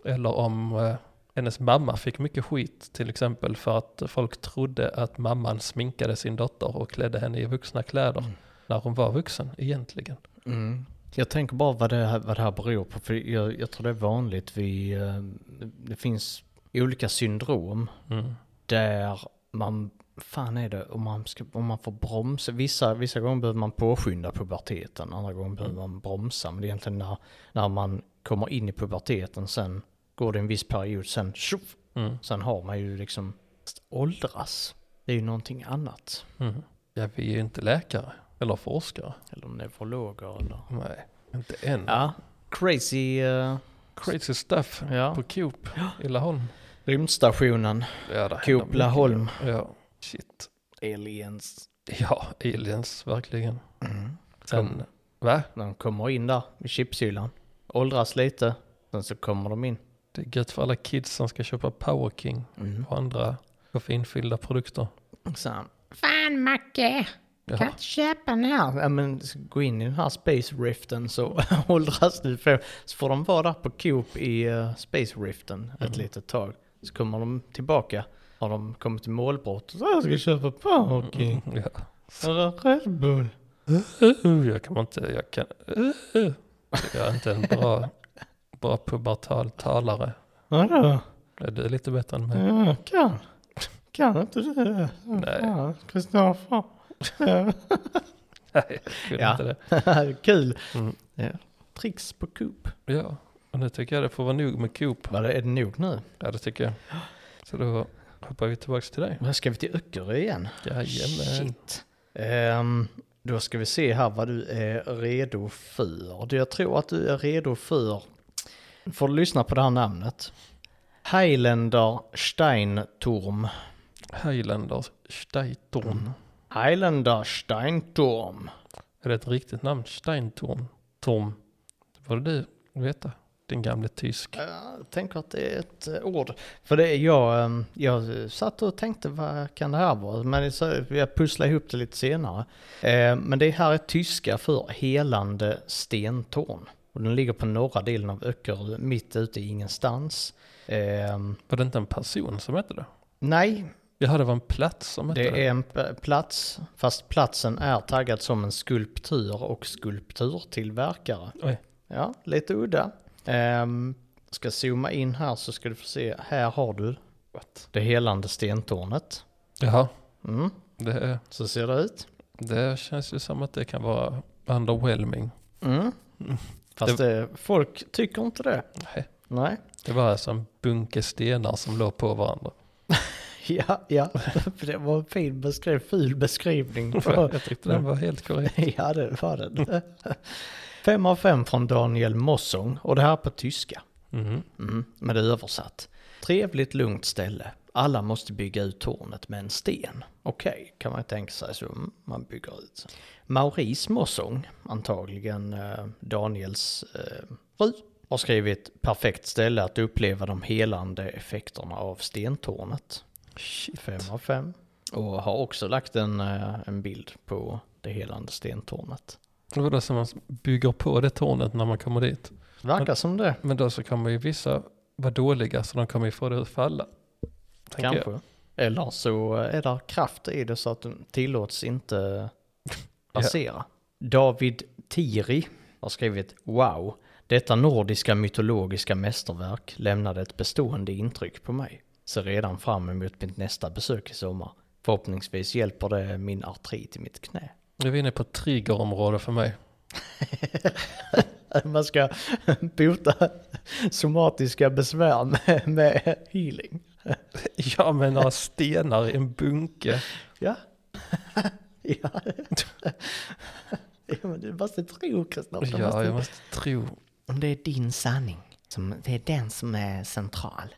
Eller om eh, hennes mamma fick mycket skit, till exempel för att folk trodde att mamman sminkade sin dotter och klädde henne i vuxna kläder
Mm.
när hon var vuxen egentligen.
Mm. Jag tänker bara vad det här, vad det här beror på, för jag, jag tror det är vanligt vid, eh, det finns olika syndrom
Mm.
där man, fan är det, om man, ska, om man får bromsa, vissa, vissa gånger behöver man påskynda puberteten, andra gånger behöver man bromsa, men det är egentligen när, när man kommer in i puberteten sen går det en viss period, sen tjoff,
Mm.
sen har man ju liksom åldras. Det är ju någonting annat.
Mm. Ja, vi är ju inte läkare eller forskare.
Eller neurologer eller...
Nej, inte än.
Ja, crazy... eh,
Crazy stuff
ja.
på Coop i Laholm.
Rymdstationen,
Ja, det händer
Coop
mycket.
Laholm.
Ja, shit.
Aliens.
Ja, aliens verkligen.
Mm.
Sen Va?
När de kommer in där i chipshyllan. Åldras lite. Sen så kommer de in.
Det är gött för alla kids som ska köpa Power King
Mm.
och andra koffeinfyllda produkter.
Så han, Fan Macke! Kan
Ja.
inte köpa den här. Ja, men så gå in i den här Space Riften så åldras du. För, så får de vara där på Coop i eh, Space Riften ett litet tag. Så kommer de tillbaka. Har de kommit till målbrott. Så "Ah, jag ska köpa Powerking.
Mm, Ja.
Eller Red Bull.
Uh, Jag kan inte, jag kan, uh, uh. jag är inte en bra, bra pubertal talare.
Vadå?
Ja, Du är lite bättre än mig.
Ja, kan. Kan inte du det?
Nej.
Fan, Kristoffer. Ja.
Nej, jag kunde
Ja.
inte det.
Kul.
Mm.
Ja. Tricks på Coop.
Ja, och nu tycker jag det får vara nog med Coop.
Vad är det nog nu?
Ja, det tycker jag. Så då hoppar vi tillbaka till dig.
Vad Ska vi till Öckerö igen?
Jajamän.
Shit. Ehm, då ska vi se här vad du är redo för. Du, Jag tror att du är redo för... Får du lyssna på det här namnet? Highlander Steinturm.
Highlanders Steintorn.
Highlander Steinturm.
Är det ett riktigt namn? Steintorn? Torm? Det borde du veta. Din gamle tysk.
Jag tänker att det är ett eh, ord. För det är jag, ehm, jag satt och tänkte vad kan det här vara? Men så- jag pusslade ihop det lite senare. Eh, Men det här är tyska för helande stentorn. Och den ligger på norra delen av Öckerö, mitt ute i ingenstans. Ehm,
Var det inte en person som hette det?
Nej,
Jaha, det var en plats som hette det.
det är en p- plats, fast platsen är taggad som en skulptur och skulpturtillverkare.
Oj.
Ja, lite udda. Ehm, ska zooma in här så ska du få se, här har du
What?
det helande stentornet.
Jaha,
Mm,
det,
så ser det ut.
det känns ju som att det kan vara underwhelming.
Mm. Fast det, folk tycker inte det.
Nej,
Nej.
det var alltså en bunke stenar som låg på varandra.
Ja, ja. det var en fin beskriv, ful beskrivning.
Jag tyckte den var helt korrekt.
ja, det var den. Fem av fem från Daniel Mossong och det här på tyska.
Mhm.
Mm, men det är översatt. Trevligt lugnt ställe. Alla måste bygga ut tornet med en sten. Okej, kan man ju tänka sig så mm, man bygger ut. Maurice Mossong, antagligen eh, Daniels eh, fru, har skrivit perfekt ställe att uppleva de helande effekterna av stentornet.
Shit.
Fem av fem. Och har också lagt en, eh, en bild på det helande stentornet.
Det var det som man bygger på det tornet när man kommer dit.
Verkar som det,
Men då så kommer ju vissa vara dåliga så de kommer ju få det att falla. tänker jag.
kanske. Eller så är det kraft i det så att den tillåts inte passera. David Tiri har skrivit Wow, detta nordiska mytologiska mästerverk lämnade ett bestående intryck på mig. Ser redan fram emot mitt nästa besök i sommar. Förhoppningsvis hjälper det min artrit i mitt knä.
Nu är vi inne på triggerområde för mig.
Man ska bota somatiska besvär med, med healing.
Ja, men några stenar i en bunke.
Ja. ja. ja men du måste tro Kristoffer.
Ja, jag måste tro.
Om det är din sanning, som, det är den som är central.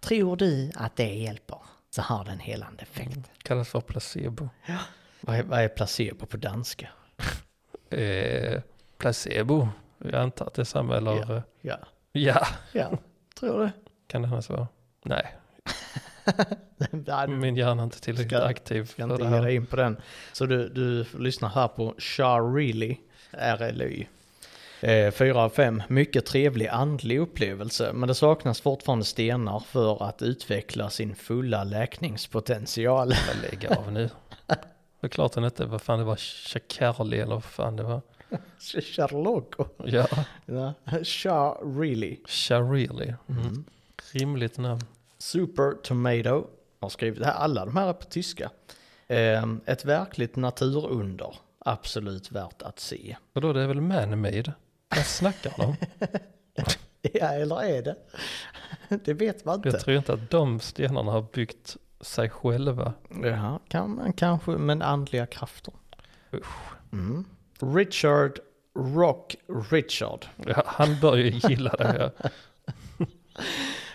Tror du att det hjälper så har den helande effekt.
Kallas för placebo.
Mm. Vad, är, vad är placebo på danska?
Eh, placebo. Jag antar att det är samma eller... eh,
Ja,
ja,
ja. tror du?
kan det annars vara? Nej,
Nej, du
min hjärna är inte tillräckligt
Ska-
aktiv
ska
för
inte
det
ge
här.
dig in på den. Så du, du får lyssna här på Charily, RLY. Eh, Fyra av fem, mycket trevlig andlig upplevelse, men det saknas fortfarande stenar för att utveckla sin fulla läkningspotential.
Men Lägg av nu. Det är klart den hette, vad fan det var, Shakarli eller vad fan det var.
Sherlock.
Ja,
Ja, Charily.
Sharili. Mm. Rimligt namn.
Super Tomato har skrivit, här, alla de här är på tyska. Ehm, Ett verkligt naturunder, absolut värt att se.
Och då det är väl man-made? Vad snackar de om?
Ja, eller är det? Det vet man inte.
Jag tror inte att de stenarna har byggt sig själva.
Ja, kan, kanske, men andliga krafter. Mm. Richard Rock Richard.
Ja, han bör ju gilla det. Ja.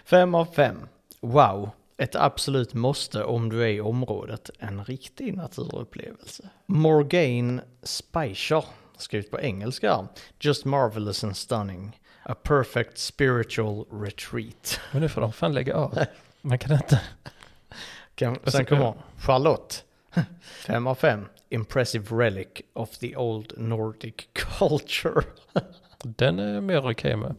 fem av fem Wow, ett absolut måste om du är i området. En riktig naturupplevelse. Morgane Speicher skrivet på engelska. Just marvelous and stunning. A perfect spiritual retreat.
Men nu får de fan lägga av. Man kan inte.
Kan,
så
sen
kan-
kommer Charlotte. fem av fem. Impressive relic of the old Nordic culture.
Den är mer okej med.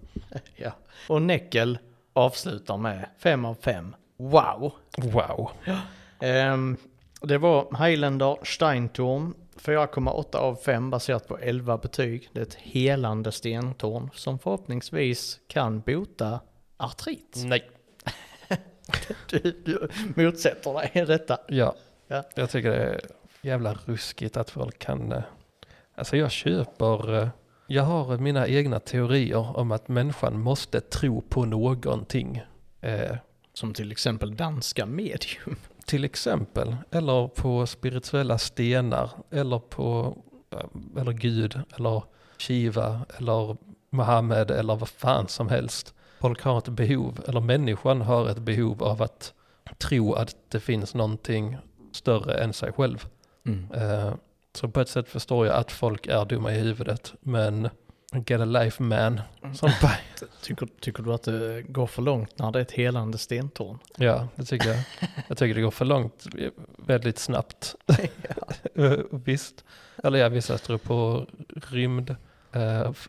ja. Och Neckel avslutar med fem av fem. Wow!
Wow.
Ehm, det var Highlander Steintorn 4,8 av 5 baserat på 11 betyg. Det är ett helande stentorn som förhoppningsvis kan bota artrit.
Nej.
Du, du motsätter dig detta.
Ja.
Ja.
Jag tycker det är jävla ruskigt att folk kan... eh, Alltså jag köper... eh, Jag har mina egna teorier om att människan måste tro på någonting. Eh,
Som till exempel danska medium.
till exempel, eller på spirituella stenar, eller på eh, eller Gud, eller Shiva, eller Mohammed, eller vad fan som helst. Folk har ett behov, eller människan har ett behov av att tro att det finns någonting större än sig själv.
Mm.
Eh, Så på ett sätt förstår jag att folk är dumma i huvudet, men get a life man. Som
Tycker, tycker du att det går för långt när det är ett helande stentorn?
Ja, det tycker jag. Jag tycker det går för långt eh, väldigt snabbt. Eh, Visst. Eller ja, vissa tror på rymd, eh, f-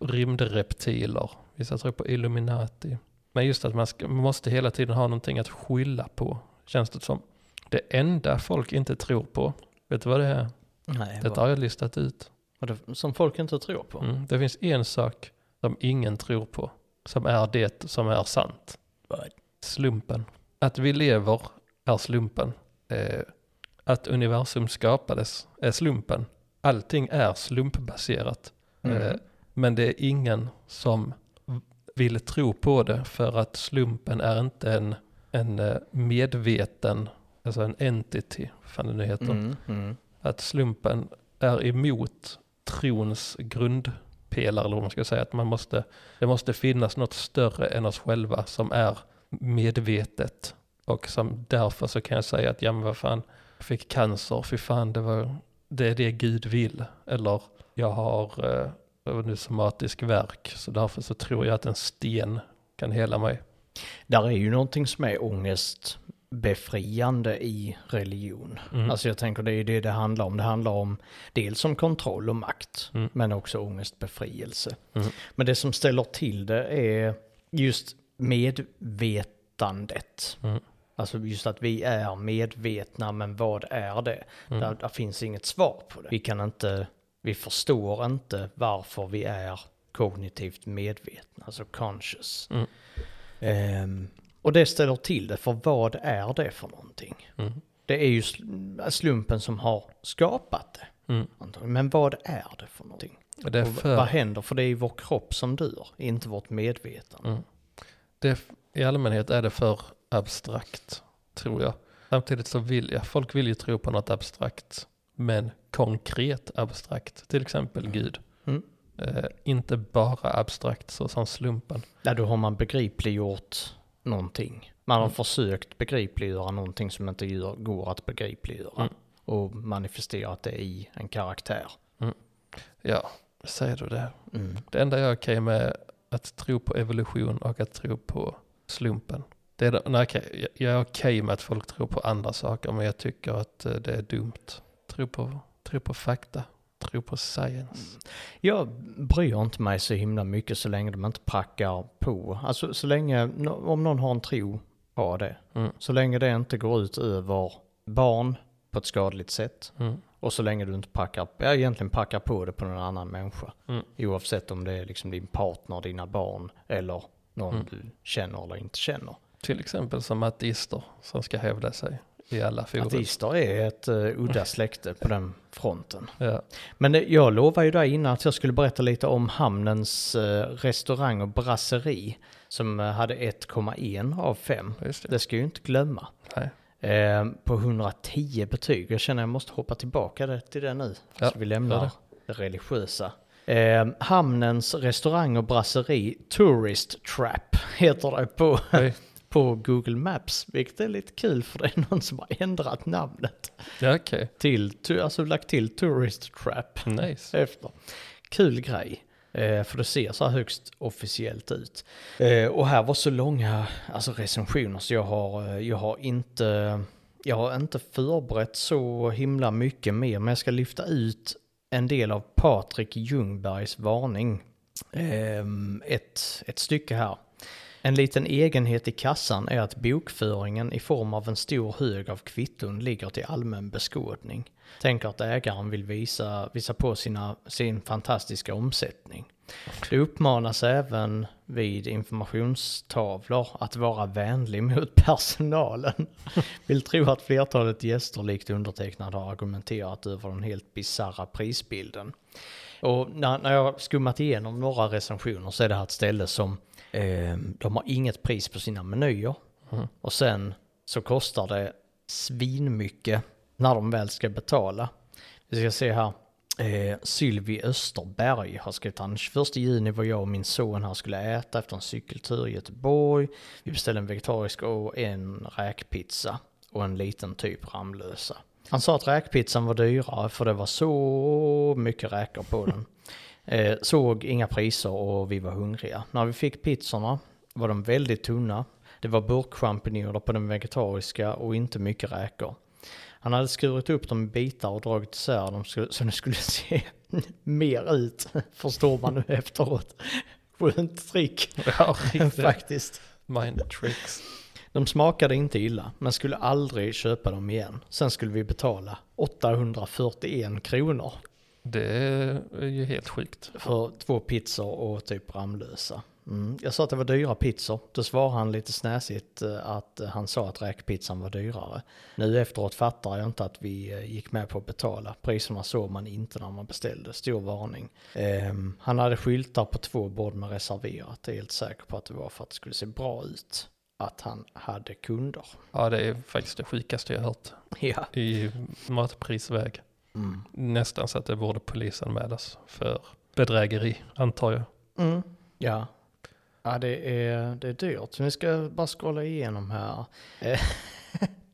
rymdreptiler. Vissa tror på Illuminati. Men just att man ska, man måste hela tiden ha någonting att skylla på, känns det som. Det enda folk inte tror på, vet du vad det är?
Nej,
Detta har jag listat ut.
det, som folk inte tror på.
Mm. Det finns en sak som ingen tror på, som är det som är sant.
Vad?
Slumpen. Att vi lever är slumpen. Eh, att universum skapades är slumpen. Allting är slumpbaserat. Eh,
Mm.
men det är ingen som v- vill tro på det för att slumpen är inte en, en eh, medveten, alltså en entity, vad fan det nu heter
Mm. Mm.
att slumpen är emot trons grundpelare, eller vad man ska säga, att man måste, det måste finnas något större än oss själva som är medvetet. Och som därför så kan jag säga att, ja men vad fan, jag fick cancer, fy fan, det, var, det är det Gud vill. Eller, jag har eh, jag vet nu somatisk verk, så därför så tror jag att en sten kan hela mig.
Där är ju någonting som är ångestbefriande i religion.
Mm.
Alltså jag tänker det är det det handlar om. Det handlar om dels om kontroll och makt,
Mm.
men också ångestbefrielse.
Mm.
Men det som ställer till det är just medvetandet.
Mm.
Alltså just att vi är medvetna, men vad är det?
Mm.
Där, där finns inget svar på det. Vi kan inte, vi förstår inte varför vi är kognitivt medvetna, alltså conscious.
Mm.
Ehm, och det ställer till det, för vad är det för någonting?
Mm.
Det är ju sl- slumpen som har skapat det.
Mm.
antagligen. Men vad är det för någonting?
Det är
Och v- vad
för
händer? För det är ju vår kropp som dör, inte vårt medvetande.
Mm. det, i allmänhet är det för abstrakt, tror jag. Samtidigt så vill jag, folk vill ju tro på något abstrakt, men konkret abstrakt, till exempel Gud.
Mm.
Eh, inte bara abstrakt så som slumpen.
Ja, då har man begripliggjort någonting. Man har
Mm.
försökt begripliggöra någonting som inte gör, går att begripliggöra.
Mm.
Och manifesterat det i en karaktär.
Ja, säger du det?
Mm.
Det enda jag är okej med att tro på evolution och att tro på slumpen. Det är, det- nej, okej, jag- jag är okej med att folk tror på andra saker, men jag tycker att eh, det är dumt. Tro på, tro på fakta, tro på science.
Jag bryr inte mig så himla mycket så länge de inte prackar på. Alltså så länge, no- om någon har en tro på det.
Mm.
Så länge det inte går ut över barn på ett skadligt sätt.
Mm.
Och så länge du inte prackar, ja, egentligen prackar på det på någon annan människa.
Mm.
Oavsett om det är liksom din partner, dina barn eller någon
Mm.
du känner eller inte känner.
Till exempel som ateister som ska hävda sig i alla forum.
Ateister är ett uh, udda släkte på den fronten.
Ja.
Men det- jag lovade ju dig innan att jag skulle berätta lite om hamnens eh, restaurang och brasseri som eh, hade 1,1 av 5.
Ja, Just det.
Det ska jag ju inte glömma.
Nej.
Eh, på 110 betyg. Jag känner jag måste hoppa tillbaka det, till det nu.
Ja,
så vi lämnar
gör
det. religiösa. Eh, hamnens restaurang och brasseri Tourist Trap heter det på,
Oj.
på Google Maps. Vilket är lite kul för det är någon som har ändrat namnet
Ja, okej.
till, tu- alltså lagt till Tourist Trap
Nice.
efter. kul grej. Eh, För det ser så här högst officiellt ut. Eh, Och här var så långa alltså recensioner så jag har, eh, jag har inte jag har inte förberett så himla mycket mer, men jag ska lyfta ut en del av Patrik Ljungbergs varning. Ehm, ett, ett stycke här. En liten egenhet i kassan är att bokföringen i form av en stor hög av kvitton ligger till allmän beskådning. Tänker att ägaren vill visa, visa på sina, sin fantastiska omsättning. Det uppmanas även vid informationstavlor att vara vänlig mot personalen. Vill tro att flertalet gäster likt undertecknad har argumenterat över den helt bisarra prisbilden. Och när, när jag skummat igenom några recensioner så är det här ett ställe som eh, de har inget pris på sina menyer.
Mhm.
Och sen så kostar det svinmycket när de väl ska betala. Vi ska se här. Eh, Sylvie Österberg har skrivit han 21 juni var jag och min son här skulle äta efter en cykeltur i Göteborg. Vi beställde en vegetarisk och en räkpizza och en liten typ Ramlösa. Han sa att räkpizzan var dyrare för det var så mycket räkor på den. Eh, såg inga priser och vi var hungriga. När vi fick pizzorna var de väldigt tunna. Det var burkchampinjoner på den vegetariska och inte mycket räkor. Han hade skurit upp dem i bitar och dragit isär dem så så de skulle se mer ut, förstår man nu efteråt. Skönt trick
Ja, riktigt.
faktiskt.
Mind tricks.
De smakade inte illa, men skulle aldrig köpa dem igen. Sen skulle vi betala 841 kronor
Det är ju helt sjukt.
för två pizzor och typ Ramlösa. Mm. Jag sa att det var dyra pizzor. Då svarade han lite snäsigt eh, att eh, han sa att räkpizzan var dyrare. Nu efteråt fattar jag inte att vi eh, gick med på att betala. Priserna såg man inte när man beställde. Stor varning. Ehm, han hade skyltar på två bord med reserverat. Jag är helt säker på att det var för att det skulle se bra ut. Att han hade kunder.
Ja, det är faktiskt det sjukaste jag hört
Ja.
i matprisväg.
Mm.
Nästan så att det borde polisanmälas för bedrägeri, antar jag.
Mm. Ja. Ja, det är, det är dyrt. Så vi ska bara scrolla igenom här. Eh,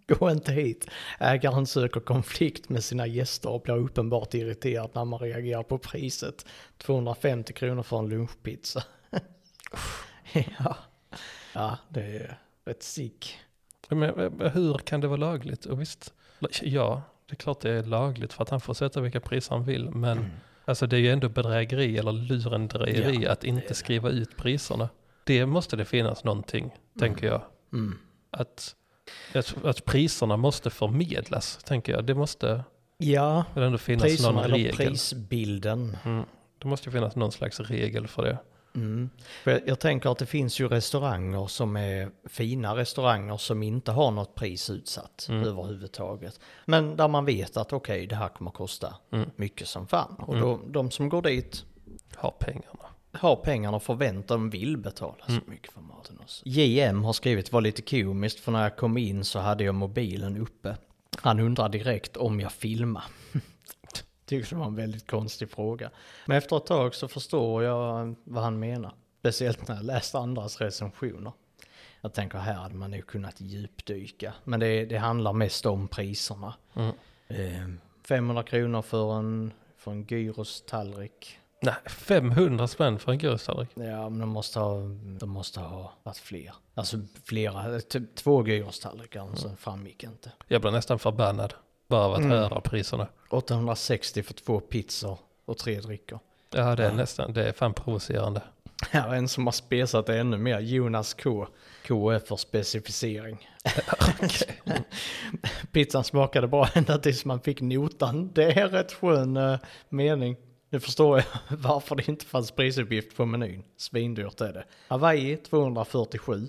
Gå inte hit. Ägaren söker konflikt med sina gäster och blir uppenbart irriterad när man reagerar på priset. 250 kronor för en lunchpizza. ja. ja, det är rätt sick.
Men eh, hur kan det vara lagligt? Och visst, ja, det är klart det är lagligt för att han får sätta vilka priser han vill, men alltså det är ju ändå bedrägeri eller lurendrejeri
Mm. Ja,
att
är
inte
det.
skriva ut priserna. Det måste det finnas någonting, tänker jag.
Mm.
Att, att, att priserna måste förmedlas, tänker jag. Det måste
Ja,
väl ändå finnas
priserna
någon
eller
regel.
prisbilden.
Mm. Det måste ju finnas någon slags regel för det.
Mm. För jag, jag tänker att det finns ju restauranger som är fina restauranger som inte har något pris utsatt
Mm.
överhuvudtaget. Men där man vet att okej, det här kommer kosta
Mm.
mycket som fan. Och då, de som går dit
Ha pengarna.
har pengarna och förväntar de vill betala så mycket för maten också. JM har skrivit var lite komiskt för när jag kom in så hade jag mobilen uppe. Han undrar direkt om jag filmar. Tyckte det var en väldigt konstig fråga. Men efter ett tag så förstår jag vad han menar. Speciellt när jag läst andras recensioner. Jag tänker här hade man ju kunnat djupdyka. Men det, det handlar mest om priserna.
Mm.
Eh, 500 kronor för en, för en gyros-tallrik.
Nej, 500 spänn för en gurustallrik.
Ja, men de måste ha, de måste ha varit fler. Alltså flera, typ två gyrostallrikar mm. sen framgick inte.
Jag blir nästan förbannad bara av att
Mm.
höra priserna.
860 för två pizzor och tre drickor.
Ja, det är nästan, det är fan provocerande.
Här är en som har spesat det ännu mer, Jonas K. K är för specificering. Pizzan smakade bra ända tills man fick notan. Det är rätt skön eh, mening. Nu förstår jag varför det inte fanns prisuppgift på menyn. Svindyrt är det. Hawaii 247.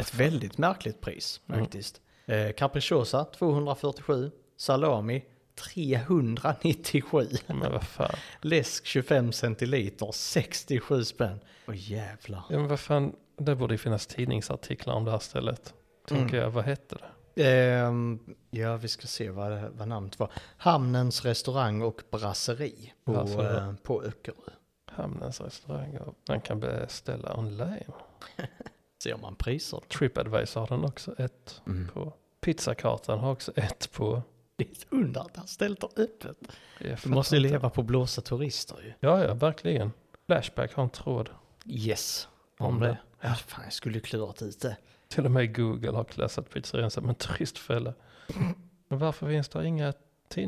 Ett väldigt märkligt pris faktiskt. Eh, capricciosa 247. Salami 397.
Men vad fan.
Läsk 25 centiliter 67 spänn. Åh jävlar.
Ja, men vad fan, det borde ju finnas tidningsartiklar om det här stället. Tänker
Mm.
jag, vad hette det?
Ehm, ja, vi ska se vad, det- vad namnet var. Hamnens restaurang och brasseri på,
Alltså.
eh, på Öckerö.
Hamnens restaurang. Och man kan beställa online.
Ser man priser? Mm.
Tripadvisor har den också ett på. Pizzakartan har också ett på
väldigt under att han ställt det öppet.
Jag
Du
fattar
måste ju
inte.
leva på blåsa turister ju.
Ja, ja, verkligen. Flashback har en tråd.
Yes,
Om
om
det.
det. Ja, fan, jag skulle ju klurat ut det.
Till och med Google har klassat pizzerian som en turistfälla. Men varför finns det inga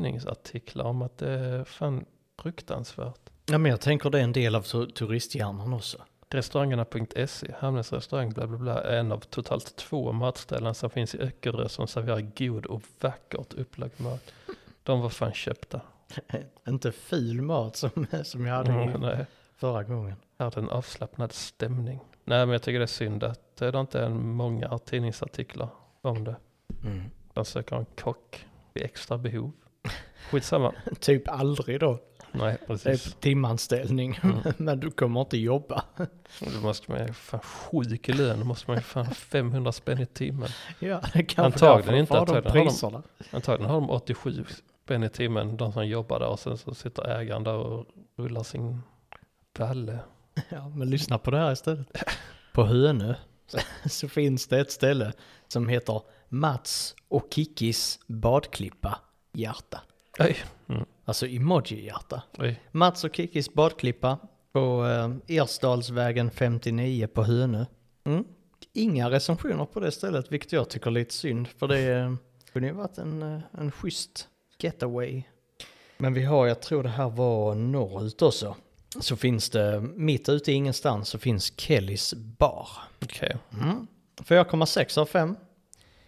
tidningsartiklar om att det är fan fruktansvärt?
Ja, men jag tänker det är en del av tu- turisthjärnan också.
Restaurangerna.se, E, Hamnens restaurang, bla bla bla, är en av totalt två matställen som finns i Öckerö som serverar god och vackert upplagd mat. De var fan köpta.
Inte ful mat som, som jag hade
Mm,
mm.
nej.
förra gången.
Här är det en avslappnad stämning. Nej, men jag tycker det är synd att eh, det inte är många tidningsartiklar om det. De söker en kock vid extra behov. Skitsamma.
Typ aldrig då.
Nej,
Det är
precis.
på timanställning.
Mm.
men du kommer inte jobba.
Då måste man ju fan sjuk i lön. Då måste man ju fan 500 spänn i timmen.
Ja, det är kanske
Antagligen
därför de
inte,
får
antagligen har
de
de-
priserna.
Antagligen har de 87 spänn i timmen, de som jobbar där. Och sen så sitter ägaren där och rullar sin balle.
Ja, men lyssna på det här istället. På Hönö så finns det ett ställe som heter Mats och Kikis badklippa hjärta.
Oj, mm,
Alltså emoji-hjärta.
oj.
Mats och Kikis badklippa på eh, Ersdalsvägen 59 på Hönö. Mm. Inga recensioner på det stället, vilket jag tycker är lite synd, för det eh, kunde ju varit en, eh, en schysst getaway. Men vi har, jag tror det här var norrut också, så finns det, mitt ute i ingenstans så finns Kellys bar.
Okej.
Mm. 4,6 av 5.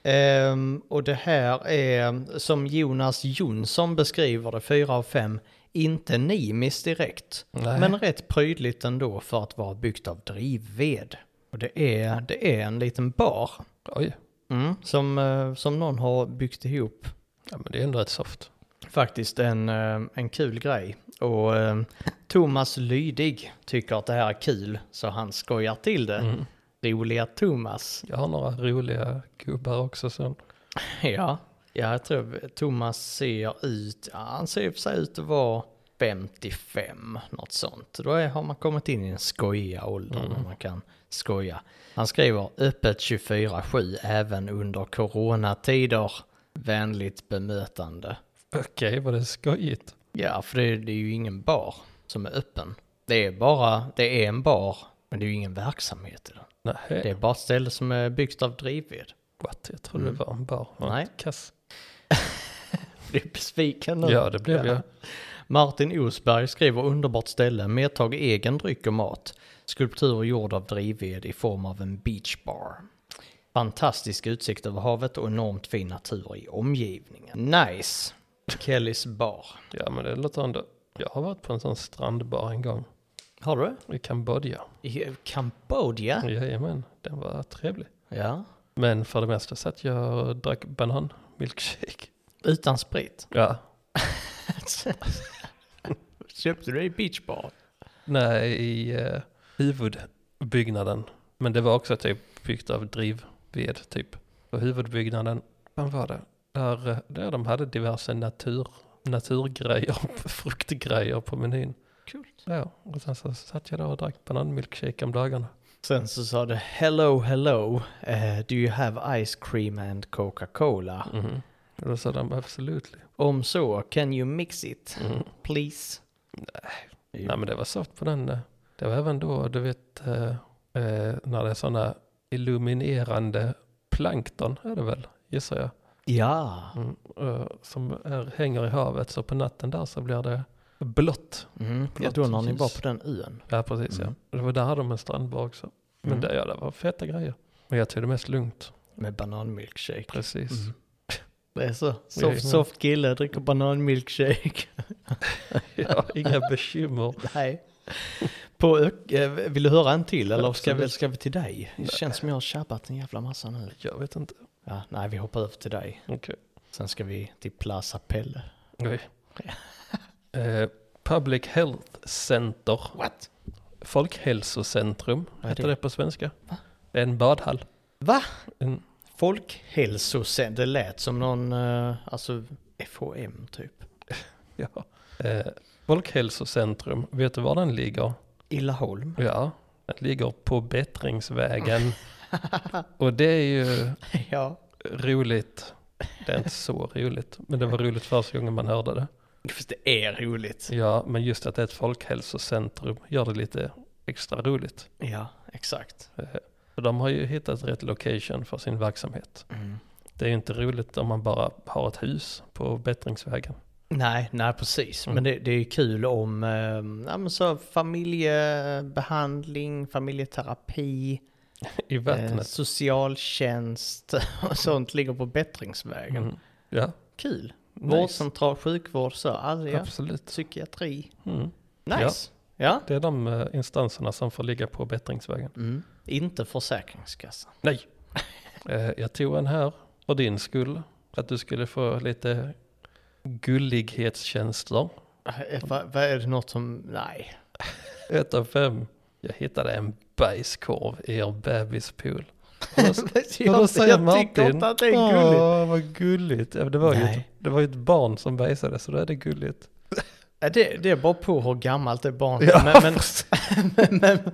Ehm, och det här är, som Jonas Jonsson beskriver det, 4 av 5. Inte nimiskt direkt,
Nej.
men rätt prydligt ändå för att vara byggt av drivved. Och det är, det är en liten bar
Oj.
mm, som, eh, som någon har byggt ihop.
Ja, men det är ändå rätt soft.
Faktiskt en, eh, en kul grej. Och eh, Thomas Lydig tycker att det här är kul, så han skojar till det.
Mm.
Roliga Thomas.
Jag har några roliga gubbar också sen.
Ja, ja jag tror Thomas ser ut, ja, han ser i och för sig ut att vara 55, något sånt. Då är, har man kommit in i den skojiga åldern
Mm.
när man kan skoja. Han skriver öppet 24-7 även under coronatider. Vänligt bemötande.
Okej, var det skojigt?
Ja, för det, det är ju ingen bar som är öppen. Det är bara, det är en bar, men det är ju ingen verksamhet i den. Det
Nej,
är bara ett ställe som är byggt av drivved.
what? Jag trodde det var en bar. och en
Mm. Nej.
Kass.
Blir du besviken nu?
Ja, det blev jag.
Martin Osberg skriver underbart ställe, medtag egen dryck och mat. Skulptur gjord av drivved i form av en beachbar. Fantastisk utsikt över havet och enormt fin natur i omgivningen. Nice! Kellys bar.
Ja, men det låter ändå. Jag har varit på en sån strandbar en gång
Har du det?
i Kambodja.
I Kambodja?
Jajamän, den var trevlig.
Ja.
Men för det mesta satt jag och drack bananmilkshake.
Utan sprit.
Ja,
Köpte du i beachbar?
nej, i eh, huvudbyggnaden. Men det var också typ byggt av drivved typ. Och huvudbyggnaden, vad var det? Där, eh, där de hade diverse natur, naturgrejer, fruktgrejer på menyn.
Kul.
Ja, och sen så satt jag där och drack bananmilkshake om dagarna.
Sen så sa det hello hello, eh, do you have ice cream and Coca-Cola?
Mhm. Och då sa de absolut.
Om så, can you mix it?
Mm.
Please. Jo.
Nej men det var soft på den. eh. Det var även då, du vet, eh, eh, när det är sådana illuminerande plankton är det väl, gissar jag.
Ja.
Mm, eh, som är, hänger i havet, så på natten där så blir det blått.
Mm.
Klart,
Jag tror när ni
precis.
var på den ön.
Ja precis
Mm.
ja. Det var där hade de en strandbar också. Men
Mm.
det, ja, det var feta grejer. Men jag tog det mest lugnt,
Med bananmilkshake.
precis.
Mm. Det är så.
Jajamän.
Soft, soft kille, dricker bananmilkshake.
Ja, inga bekymmer.
Nej. På Ök- eh, vill du höra en till eller ska vi,
Absolut.
ska vi till dig? Det känns som jag har tjabbat en jävla massa nu.
Jag vet inte.
Ja, nej, vi hoppar över till dig.
Okej.
Sen ska vi till Plaza Pelle.
Oj. Eh, Public Health Center.
What?
Folkhälsocentrum
är
heter
det?
det på svenska. Det är en badhall.
Va?
En,
Folkhälsocentrum. Det lät som någon, eh, alltså FHM typ.
ja. eh, folkhälsocentrum, vet du var den ligger?
Illaholm.
Ja, den ligger på Bättringsvägen. Och det är ju
ja.
roligt Det är inte så roligt, men det var roligt första gången man hörde det.
Fast det är roligt.
Ja, men just att det är ett folkhälsocentrum gör det lite extra roligt.
Ja, exakt.
För de har ju hittat rätt location för sin verksamhet.
Mm.
Det är ju inte roligt om man bara har ett hus på bättringsvägen.
Nej, nej precis.
Mm.
Men det, det är ju kul om eh, ja, men så familjebehandling, familjeterapi,
I
eh,
vattnet.
socialtjänst och sånt ligger på bättringsvägen.
Mm. Ja,
Kul.
Nice.
Vårdcentral, sjukvård, så, alltså, ja.
absolut.
psykiatri.
Mm.
Nice. Ja.
Det är de eh, instanserna som får ligga på bättringsvägen.
Mm. Inte Försäkringskassan.
Nej. Eh, Jag tog en här för din skull. För att du skulle få lite gullighetstjänster.
Eh, Vad vad är det något som, nej.
Ett av fem. Jag hittade en bajskorv i er bebispool. Och då- och då
jag
säger
tycker
Martin, Ah.
inte att det är gulligt.
Åh, vad gulligt. Ja, men det, var ju ett,
Nej.
det var ju ett barn som bajsade, så då är det gulligt.
Ja, det, det är bara på hur gammalt det barnet
Ja,
är. Men, men, men, men,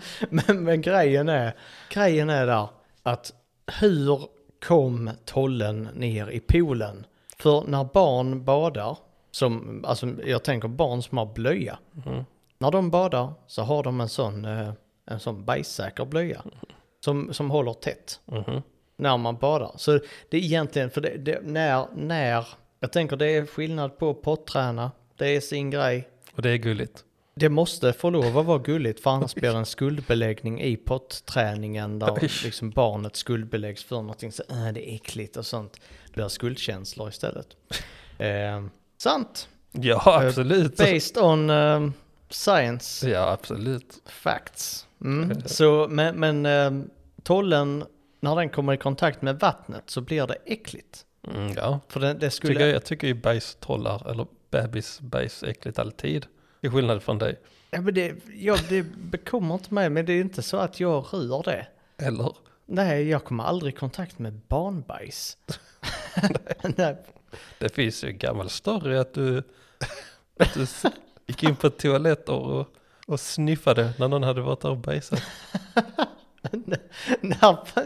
men, men grejen är, grejen är där att hur kom tollen ner i poolen? För när barn badar, som, alltså jag tänker barn som har blöja,
Mhm.
när de badar så har de en sån, eh, en sån bajssäker blöja som, som håller tätt
Mhm.
när man badar. Så det är egentligen, för det, det, när, när, jag tänker det är skillnad på potträna, det är sin grej.
Och det är gulligt.
Det måste få lov att vara gulligt för annars blir det en skuldbeläggning i potträningen
Oj.
där liksom barnet skuldbeläggs för någonting. Så äh, det är äckligt och sånt. Det blir skuldkänslor istället. Eh, sant!
Ja, absolut.
Based on eh, science
Ja, absolut.
facts. Mm. Så, men, men eh, tollen, när den kommer i kontakt med vattnet så blir det äckligt.
Mm, ja.
För det, det skulle...
Tycker jag, jag tycker ju bajstrollar, eller bebisbajs, är äckligt alltid. I skillnad från dig.
Ja, men det, ja, det bekommer inte mig, men det är inte så att jag rör det.
Eller?
Nej, jag kommer aldrig i kontakt med barnbajs. Nej.
Det finns ju en gammal story att du, att du s- gick in på toaletten och, och sniffade när någon hade varit där och bajsat.
när-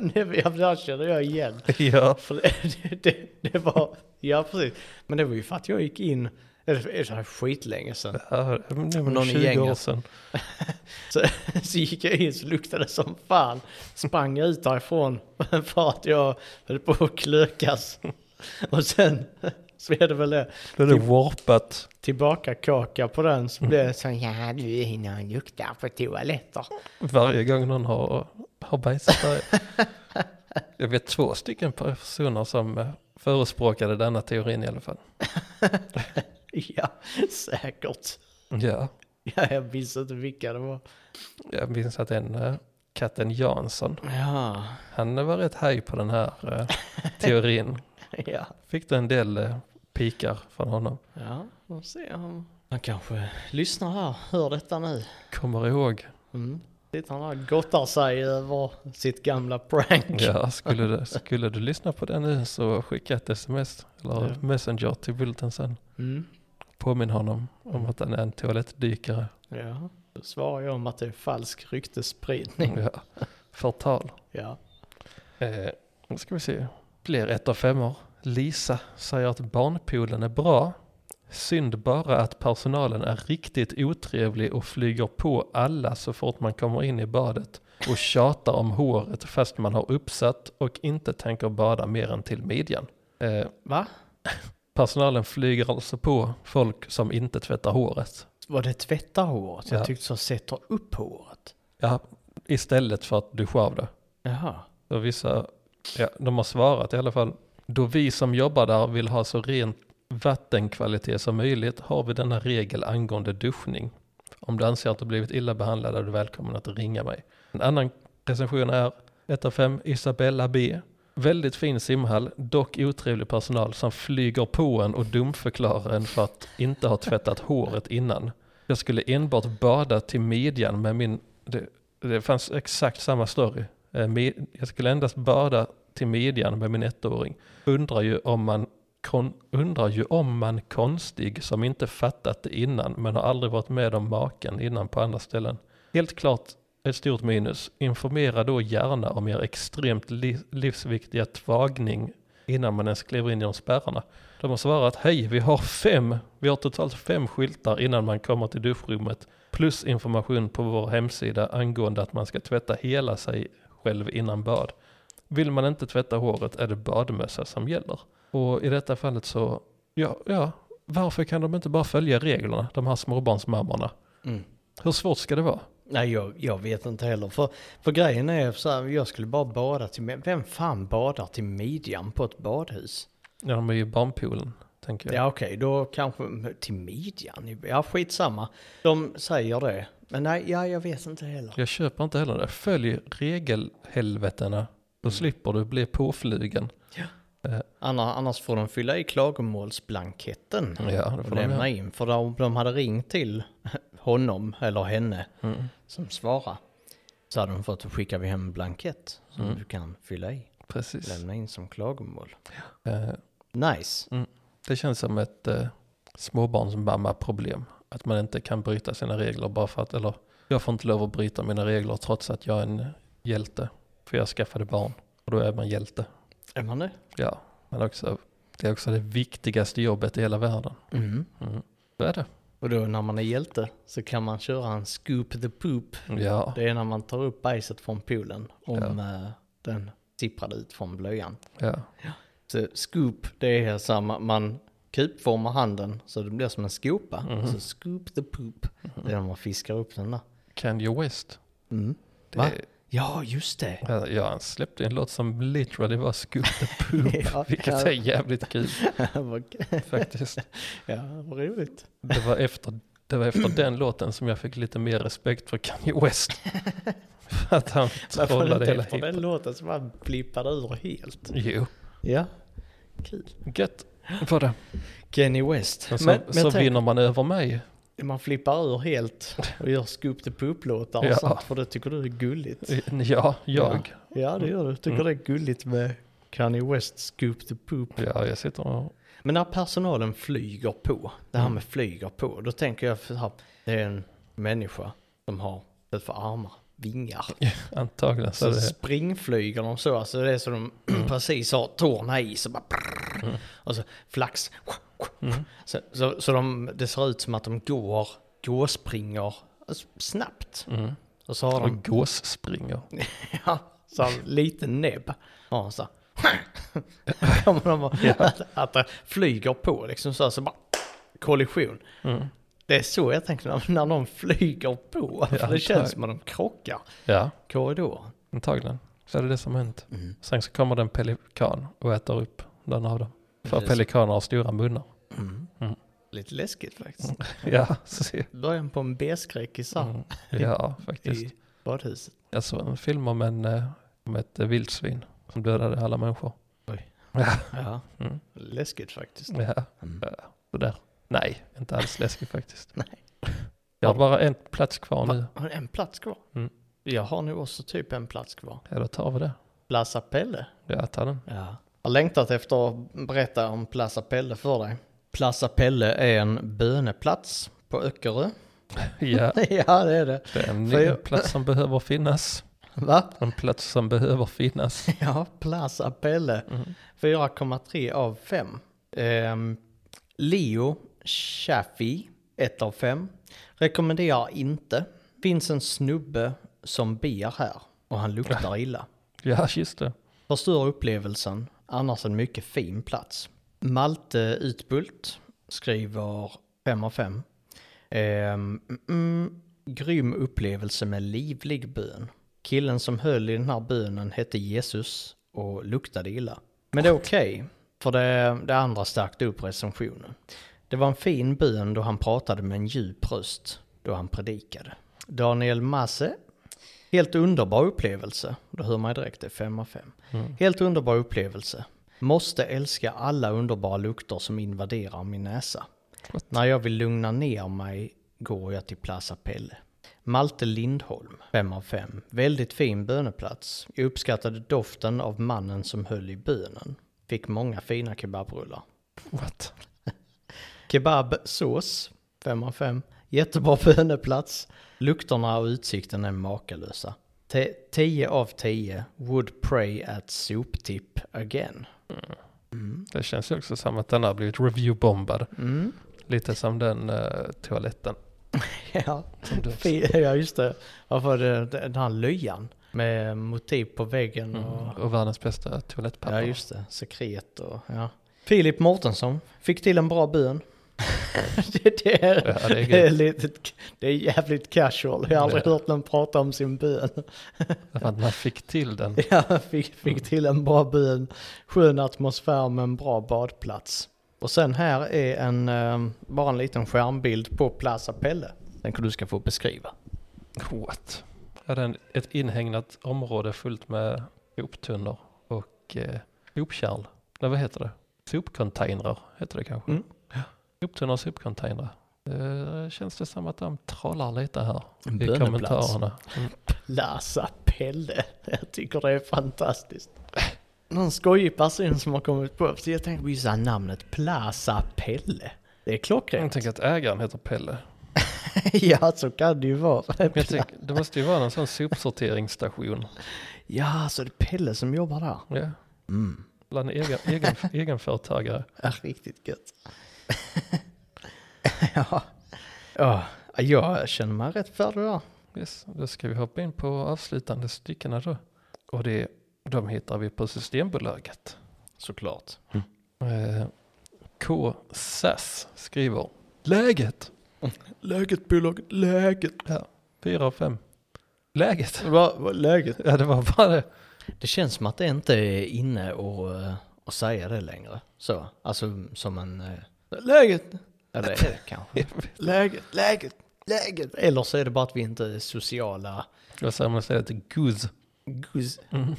när- ja, där känner jag igen.
Ja,
För det, det, det var, ja precis. Men det var ju för att jag gick in, eller eller så här skitlänge sedan.
ja men det var
Någon
någon
i
20 år
gänget.
sedan.
Så, så gick jag in så luktade det som fan. Sprang ut därifrån för att jag höll på att klökas. Och sen så är det väl det.
Då är det warpat.
tillbaka kaka på den så blev det så ja du är inne och luktar på toaletter.
Varje gång någon har, har bajsat där. Jag vet två stycken personer som eh, förespråkade denna teorin i alla fall.
Ja, säkert.
Ja,
Ja, jag minns inte vilka det var.
jag minns att en eh, katten Jansson,
Ja,
han var rätt haj på den här eh, teorin.
ja.
Fick du en del eh, pikar från honom.
Ja, får se om... Han kanske lyssnar här, hör detta nu.
Kommer ihåg.
Mm. Sitter han här och gottar sig över sitt gamla prank.
Ja, skulle du, skulle du lyssna på det nu så skicka ett sms eller
Ja.
messenger till Bulten sen.
Mm.
Påminn honom om att han är en toalettdykare.
ja. Då svarar jag om att det är falsk ryktesspridning.
Ja. Förtal.
Ja.
Eh, nu ska vi se. Blir ett av femmor. Lisa säger att barnpoolen är bra. Synd bara att personalen är riktigt otrevlig och flyger på alla så fort man kommer in i badet och tjatar om håret fast man har uppsatt och inte tänker bada mer än till midjan. Eh,
Va?
personalen flyger alltså på folk som inte tvättar håret.
Var det tvätta håret?
Ja.
Jag tyckte så sätter upp håret.
Ja, istället för att duscha av det.
Jaha.
Och vissa, ja, de har svarat i alla fall. Då vi som jobbar där vill ha så ren vattenkvalitet som möjligt har vi denna regel angående duschning. Om du anser att du blivit illa behandlad är du välkommen att ringa mig. En annan recension är 1 av 5 Isabella B. Väldigt fin simhall, dock otrevlig personal som flyger på en och dumförklarar en för att inte ha tvättat håret innan. Jag skulle enbart bada till midjan med min... Det, det fanns exakt samma story. Eh, med- Jag skulle endast bada till midjan med min ettåring. Undrar ju om man kon, undrar ju om man konstig som inte fattat det innan men har aldrig varit med om maken innan på andra ställen. Helt klart ett stort minus. Informera då gärna om er extremt li- livsviktiga tvagning innan man ens kliver in genom spärrarna. De har svarat hej, vi har fem, vi har totalt fem skyltar innan man kommer till duschrummet. Plus information på vår hemsida angående att man ska tvätta hela sig själv innan bad. Vill man inte tvätta håret är det badmössa som gäller. Och i detta fallet så, ja, ja, varför kan de inte bara följa reglerna, de här småbarnsmammorna?
Mm.
Hur svårt ska det vara?
Nej, jag, jag vet inte heller. För, för grejen är så här, jag skulle bara bada till... mid- Vem fan badar till midjan på ett badhus?
Ja, de är ju i barnpoolen, tänker jag.
Ja okej, då kanske till midjan. Ja skitsamma. De säger det. Men nej, ja, jag vet inte heller.
Jag köper inte heller det. Följ regelhelvetena,
Mm.
då slipper du bli påflugen.
Annars, annars får de fylla i klagomålsblanketten.
Ja, det
Och
får de
Mm. lämna
göra.
in. För om de hade ringt till honom eller henne
Mm.
som svarar. Så hade de fått skicka hem en blankett som
Mm.
du kan fylla i.
Precis.
Lämna in som klagomål.
Eh,
Nice.
Det känns som ett eh, småbarnsmamma-problem. Att man inte kan bryta sina regler bara för att, eller jag får inte lov att bryta mina regler trots att jag är en hjälte. För jag skaffade barn och då är man hjälte.
Är man det?
Ja, men också, det är också det viktigaste jobbet i hela världen.
Mm.
Mm. Det är det.
Och då när man är hjälte så kan man köra en scoop the poop.
Ja,
Det är när man tar upp bajset från poolen om
Ja.
eh, den sipprade ut från blöjan.
ja.
Så scoop, det är så här, ma- man kupformar handen så det blir som en skopa.
Mhm.
Så scoop the poop, det är när man fiskar upp den där.
Kanye West.
Mm.
Det,
Va? Ja, just det.
Ja, Ja, han släppte en låt som literally var Scoop the Poop,
Ja,
vilket
ja.
är jävligt kul
Vad-
faktiskt.
ja, vad roligt.
Det var, efter, det var efter den låten som jag fick lite mer respekt för Kanye West. för att han
Varför är det
trollade
inte
hela
efter den
hiphop.
låten som man blippade ur helt?
Jo,
Ja, kul.
gött var det.
Kenny West.
Men så,
men men
så
tänk,
vinner man över mig.
man flippar ur helt och gör scoop the poop-låtar och
Ja.
sånt för det tycker du är gulligt.
Ja, jag.
Ja, det gör du. Tycker
Mm.
det är gulligt med Kanye West scoop the poop.
Ja, jag sitter och...
Men när personalen flyger på, det här
Mm.
med flyger på, då tänker jag så här, det är en människa som har ett för armar, vingar.
Antagligen så
Så
är det...
springflyger de så, alltså det är så de precis har tårna i, så bara prrr,
Mm.
och så flax. Så, så, så de, det ser ut som att de går, gåspringer alltså, snabbt.
Mm.
Och så har de
Och gåsspringer.
Ja, så här lite näbb. Ja, så här. Kommer de och, att, att det flyger på liksom så, här, så bara kollision.
Mm.
Det är så jag tänker när, när de flyger på. För det
antagligen.
känns som att de krockar
Ja,
korridoren.
antagligen. Så är det det som har hänt. Sen så kommer det en pelikan och äter upp den av dem. För
Precis.
pelikaner har stora munnar.
Mm. Lite läskigt faktiskt.
Ja, så,
Början på en B-skräck i
Mm.
Sam.
ja faktiskt.
I badhuset.
Jag såg Alltså, en film om, en, eh, om ett eh, vildsvin som dödade alla människor.
Oj.
Ja,
Ja,
Mm.
läskigt faktiskt.
ja.
Mm.
ja, sådär. Nej, inte alls läskigt faktiskt.
Nej.
Jag har bara en plats kvar nu.
Va, har du en plats kvar?
Mm.
Jag har nu också typ en plats kvar.
Ja, då tar vi det.
Plaza Pelle.
Jag tar den.
Ja. Jag har längtat efter att berätta om Plaza Pelle för dig. Plaza Pelle är en böneplats på Öckerö.
Ja,
ja, det är det.
det är en
För
ny
jag-
plats som behöver finnas.
Va?
En plats som behöver finnas.
Ja, Plaza Pelle. 4,3 av 5. Ehm, Leo Chaffee, 1 av 5. Rekommenderar inte. Finns en snubbe som ber här och han luktar illa.
Ja, just det.
Förstör upplevelsen, annars en mycket fin plats. Malte Utbult skriver 5 av 5. Ehm, mm, grym upplevelse med livlig bön. Killen som höll i den här bönen hette Jesus och luktade illa. Men det är okej, för det, det andra stärkte upp recensionen. Det var en fin bön då han pratade med en djup röst då han predikade. Daniel Masse Helt underbar upplevelse. Då hör man ju direkt det, 5 av 5. Helt underbar upplevelse. Måste älska alla underbara lukter som invaderar min näsa.
What?
När jag vill lugna ner mig går jag till Plaza Pelle. Malte Lindholm, 5 av 5. Väldigt fin böneplats. Jag uppskattade doften av mannen som höll i bönen. Fick många fina kebabrullar.
What?
Kebabsås, 5 av 5. Jättebra böneplats. Lukterna och utsikten är makalösa. Te- 10 av 10. Would pray at soptipp again. Mm.
Det känns ju också som att den har blivit reviewbombad.
Mm.
Lite som den eh, toaletten.
Ja.
Som du också.
Fi- ja, just det. Varför det, den här lyan med motiv på väggen och...
Mm. Och världens bästa toalettpapper.
Ja, just det. Sekret och... Ja. Filip Mortensson fick till en bra bön. det, det, är,
Ja, det är
det, är
gött.
lite, det är jävligt casual. Jag har aldrig
Ja.
hört någon prata om sin bön.
Därför att man fick till den.
Jag fick, fick till en bra bön, skön atmosfär med en bra badplats. Och sen här är en, eh, bara en liten skärmbild på Plaza Pelle. Den kan du ska få beskriva.
What? Ja, den, ett inhägnat område fullt med soptunnor och eh, sopkärl. Nej, vad heter det? Sopcontainrar heter det kanske.
Mm.
Ja. Soptunnor och sopcontainrar. Eh, känns det som att de trollar lite här
En
i kommentarerna. Mm.
Plaza Pelle. Jag tycker det är fantastiskt. Någon skojig person som har kommit på så jag tänkte vi sa namnet Plaza Pelle. Det är
Jag
klockrent.
tänker att ägaren heter Pelle.
ja, så kan det ju vara.
Men jag tänker, det måste ju vara någon sån sopsorteringsstation.
Ja, så det är Pelle som jobbar där.
Ja,
Mm.
bland egen, egen, egenföretagare.
Ja, riktigt gött. ja. ja, jag känner mig rätt färdig där.
Yes, då ska vi hoppa in på avslutande styckena då. Och det, de hittar vi på Systembolaget.
Såklart.
Eh, K. Sass skriver Läget!
Läget bolaget, läget.
fyra av fem Läget!
Vad vad är läget?
Ja, det var bara det.
Det känns som att det inte är inne och, eh, och säga det längre. Så, alltså som en... eh, Läget! Ja, det är det kanske. läget, läget, läget. Eller så är det bara att vi inte är sociala.
Jag säger man säger till Guz.
Guz...
Mm.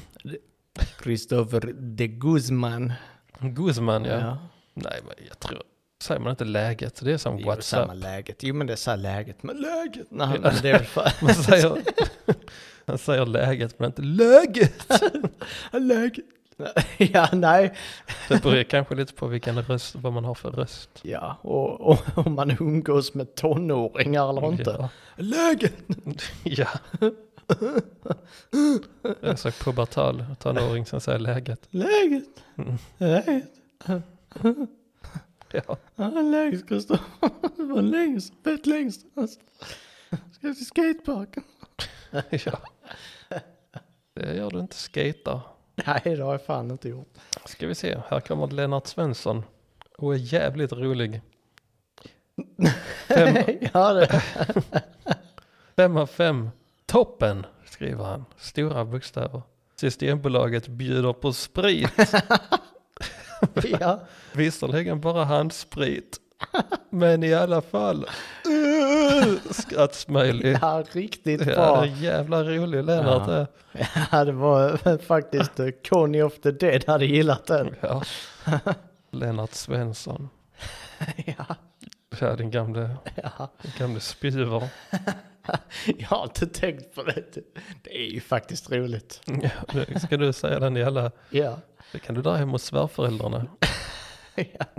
Christopher de Guzman.
Guzman, ja. Nej, men jag tror... Säger man inte läget? Det är som
Jo,
WhatsApp.
samma läget. Jo, men det är så här läget. Men läget! Nej,
Ja.
men det är väl fan...
Man säger, man säger läget, men inte läget!
läget! Ja, nej.
Det beror ju kanske lite på vilken röst, vad man har för röst.
Ja, och, och om man umgås med tonåringar eller inte.
Ja.
Läget!
ja. Jag är så pubertal tonåring som säger läget.
Läget!
Mm.
Läget!
Ja.
Ja, läget, Kristoffer. Det var längst, fett längst. Alltså, Ska till skateparken?
ja. Det gör du inte skater.
Nej, det har jag fan inte gjort.
Ska vi se, här kommer Lennart Svensson och är jävligt rolig. Fem,
ja, det...
fem av fem, toppen skriver han, stora bokstäver. Systembolaget bjuder på sprit,
Ja.
visserligen bara handsprit, men i alla fall skrattsmöjlig.
ja, riktigt
Ja,
bra.
det är jävla rolig Lennart eh.
Ja.
det.
Ja, det var faktiskt eh, Conny of the Dead hade gillat den.
Ja. Lennart Svensson,
Ja,
ja, din gamle,
ja.
din gamle spjuver.
Jag har inte tänkt på det. Det är ju faktiskt roligt.
Ja, nu ska du säga den i alla...
Ja,
Det kan du dra hem hos svärföräldrarna.
ja.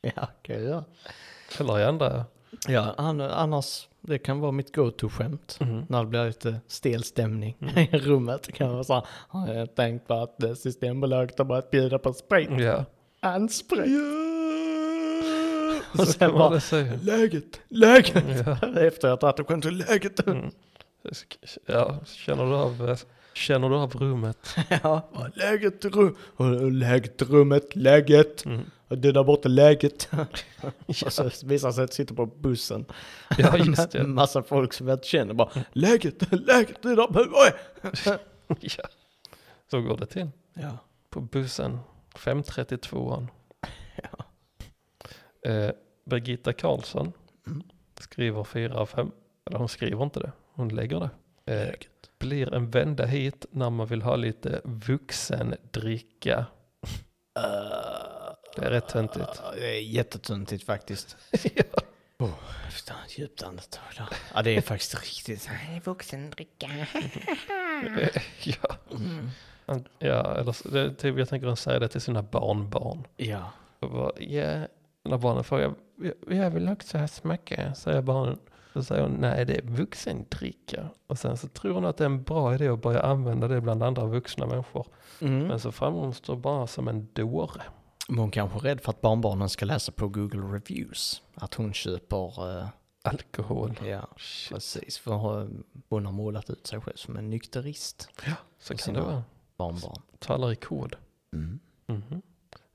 ja okej ja.
Eller i andra.
ja an- annars, det kan vara mitt go-to-skämt. När det blir lite stel stämning i rummet. Det kan vara så här, har jag tänkt på att eh, Systembolaget har börjat bjuda på sprit.
Ja.
Ansprit.
Så
Och
kan
sen
man
bara,
det säga.
läget, läget.
Ja.
Efter att jag dragit skämt, läget.
Mm. ja, känner du av, känner du av rummet?
Ja, läget i rum- och läget i rummet, läget.
Mm.
Och det där borta läget. Och så visar sig att sitta på bussen.
Ja, just det.
Med Massa folk som jag inte känner bara läget, läget, det där oj.
Ja. Så går det till.
Ja.
På bussen, 532an. Eh, Birgitta Karlsson
Mm.
skriver 4 av 5. Eller hon skriver inte det, hon lägger det. Eh, blir en vända hit när man vill ha lite vuxendricka. Det är rätt töntigt.
Ja, Eh, Det är jättetöntigt faktiskt.
Ja.
Oh, ta ett djupt andetag då. Ja, det är faktiskt riktigt.
Vuxendricka.
ja.
Mm.
ja, eller så- det, typ, jag tänker hon säger det till sina barnbarn.
Ja.
Och bara, ja. När barnen frågar, "Jag- jag vill också ha smacka, säger barnen. Då säger hon, nej det är vuxendricka. Och sen så tror hon att det är en bra idé att börja använda det bland andra vuxna människor.
Mm.
Men så framstår hon bara som en dåre.
Men hon kanske är rädd för att barnbarnen ska läsa på Google Reviews. Att hon köper, eh,
Alkohol.
ja
Shit,
precis, för eh, hon har målat ut sig själv som en nykterist.
så
och
kan
sina-
det vara.
Barnbarn.
Talar i kod. Mhm.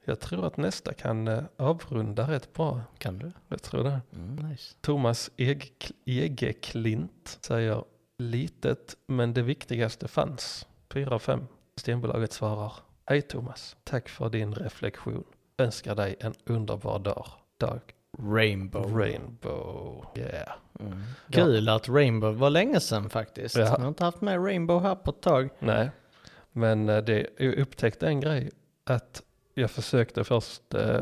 Jag tror att nästa kan eh, avrunda rätt bra.
Kan du?
Jag tror det.
Mm, nice.
Thomas Eg- Egeklint säger litet men det viktigaste fanns. 4 av 5. Stenbolaget svarar Hej Thomas, tack för din reflektion. Önskar dig en underbar dag. Dag
Rainbow.
Rainbow. Yeah.
Mm.
Ja.
Kul att Rainbow var länge sedan faktiskt.
Ja.
Jag har inte haft med Rainbow här på ett tag.
Nej, men eh, det, jag upptäckte en grej. Att jag försökte först eh,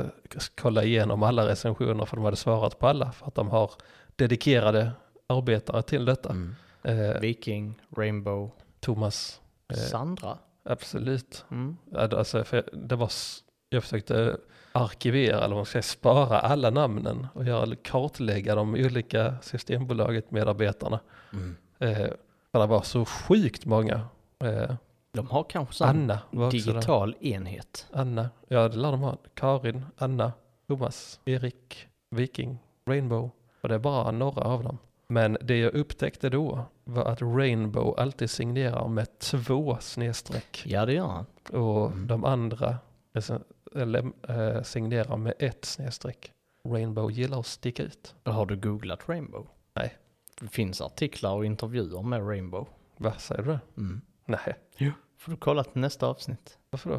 kolla igenom alla recensioner för de hade svarat på alla. För att de har dedikerade arbetare till detta. Eh,
Viking, Rainbow,
Thomas, eh,
Sandra.
absolut.
Mm.
Ja, det- Alltså, för jag- det var, s- jag försökte arkivera, eller vad man ska säga, spara alla namnen och göra, kartlägga de olika Systembolaget-medarbetarna.
Mm.
Eh, för det var så sjukt många. Eh,
De har kanske sån
Anna var också där.
digital enhet.
Anna, ja det lär de ha. Karin, Anna, Thomas, Erik, Viking, Rainbow. Och det är bara några av dem. Men det jag upptäckte då var att Rainbow alltid signerar med två snedstreck.
Ja, det gör han.
Och
Mm.
de andra alltså, eller, eh, signerar med ett snedstreck. Rainbow gillar att sticka ut.
Har du googlat Rainbow?
Nej.
Det finns artiklar och intervjuer med Rainbow.
Va, säger du det?
Mm.
Nej,
Får du kolla till nästa avsnitt?
varför då?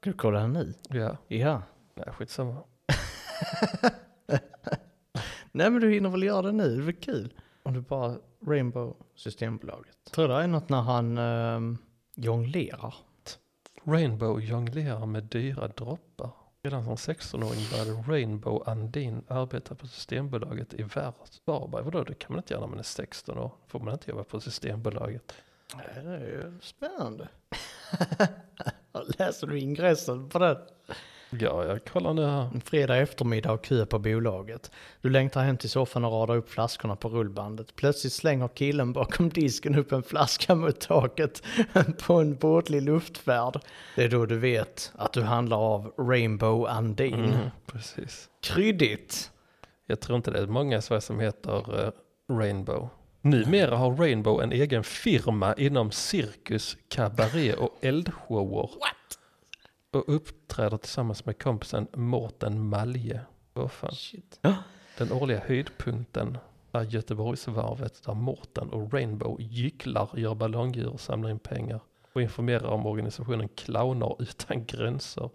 Ska du kolla nu?
Ja,
Ja.
nej skitsamma.
Nej, men du hinner väl göra det nu? Det blir kul. Om du bara Rainbow Systembolaget. Tror det är något när han ehm, jonglerar.
Rainbow jonglerar med dyra droppar. Redan som 16-åring började Rainbow Andin arbeta på Systembolaget i Varberg. Vadå, det kan man inte göra när man är 16 år. får man inte jobba på Systembolaget.
Det är ju spännande. Läser du ingressen på den?
Ja, jag kollar nu här.
En fredag eftermiddag och kö på bolaget. Du längtar hem till soffan och radar upp flaskorna på rullbandet. Plötsligt slänger killen bakom disken upp en flaska mot taket på en båtlig luftfärd. Det är då du vet att du handlar av Rainbow Andin.
Mm, precis.
Kryddigt!
Jag tror inte det är många i Sverige som heter eh, Rainbow. Numera har Rainbow en egen firma inom cirkus, kabaré och eldshower. Och uppträder tillsammans med kompisen Mårten Malje. Vad fan.
Shit.
Den årliga höjdpunkten är Göteborgsvarvet där Mårten och Rainbow gycklar, gör ballongdjur och samlar in pengar. Och informerar om organisationen Clowner utan gränser.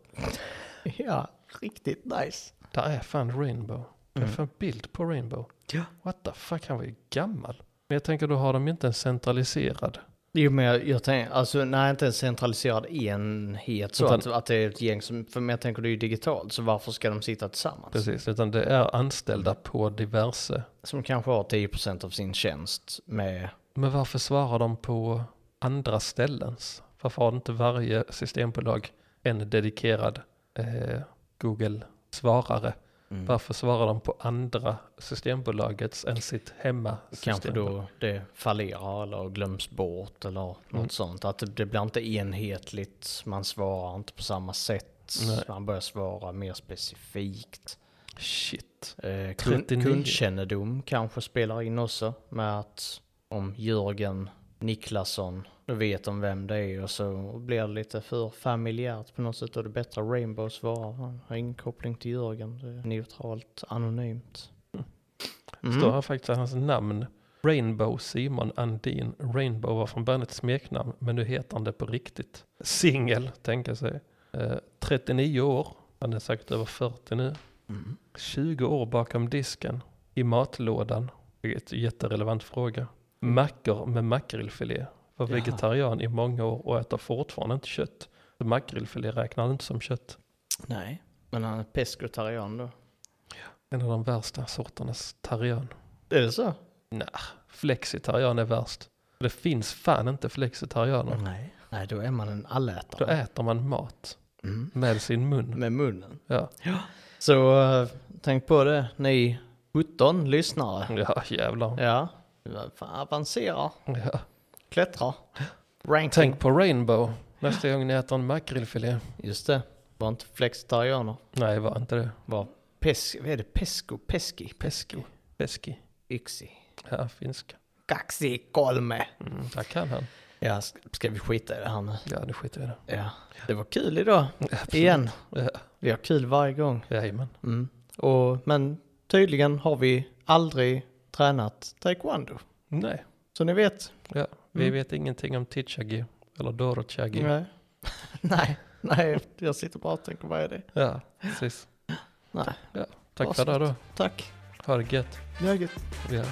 Ja, riktigt nice.
Där är fan Rainbow. Det är
Mm.
fan bild på Rainbow.
Ja.
What the fuck, han var ju gammal. Men jag tänker då har de inte en centraliserad.
Jo men jag, jag tänker, alltså nej inte en centraliserad enhet så
Utan-
att, att det är ett gäng som, för men jag tänker det är ju digitalt så varför ska de sitta tillsammans?
Precis, utan det är anställda på diverse.
Som kanske har 10% av sin tjänst med
Men varför svarar de på andra ställens? Varför har inte varje systembolag en dedikerad eh, Google-svarare?
Mm.
Varför svarar de på andra systembolagets än sitt hemma?
Kanske då det fallerar eller glöms bort eller något
Mm.
sånt. Att det, det blir inte enhetligt, man svarar inte på samma sätt.
Nej.
Man börjar svara mer specifikt.
Shit.
Eh, kund,
39.
kundkännedom kanske spelar in också. Med att om Jörgen Niklasson, då vet de vem det är och så blir det lite för familjärt på något sätt. Och det är bättre Rainbow svarar. Han har ingen koppling till Jörgen. Det är neutralt, anonymt. Mm.
Står här faktiskt hans namn. Rainbow Simon Andin. Rainbow var från början ett smeknamn, men nu heter han det på riktigt. Singel, tänker sig. Eh, 39 år, han är säkert över 40 nu.
Mm.
20 år bakom disken, i matlådan. Det är ett jätterelevant fråga. Mackor med makrillfilé. Var
Mm. Jaha.
vegetarian i många år och äter fortfarande inte kött. Så Makrillfilé räknar han inte som kött.
Nej, men han är pescotarian då.
En av de värsta sorternas tarian.
Är det så?
Flexitarian är värst. Det finns fan inte flexitarianer.
Nej. Nej, då är man en
Då
allätare.
äter man mat
Mm.
med sin mun.
Med munnen.
Ja,
Så eh, tänk på det, ni 17 lyssnare.
ja jävlar.
Ja, Fan, avancera,
Ja.
klättra, ranking.
Tänk på Rainbow nästa gång ni äter en makrillfilé.
Just det. Var inte flexitarianer.
Nej, var inte det.
Var pes... Vad är det? Pesco? Peski?
Pesko. Peski.
Yksi?
Ja, finska.
Kaksi kolme.
Mm, där kan han.
Ja, s- ska vi skita i det här nu?
Ja, nu skiter vi i det.
Ja. Det var kul idag.
Absolut.
Igen.
Ja,
Vi har kul varje gång.
jajamän.
Mm. Och, men tydligen har vi aldrig tränat taekwondo.
Nej,
Så ni vet.
ja. vi
Mm.
vet ingenting om Tichagi eller Dorochagi.
Nej. nej, nej, jag sitter bara och tänker vad är det?
Ja, precis.
Nej.
Ja, tack för
Avslut.
det då.
Tack.
Ha det gött.
Läget?
Ja.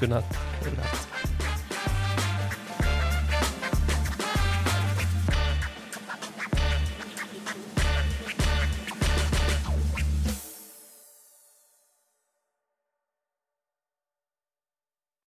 Godnatt.
Godnatt.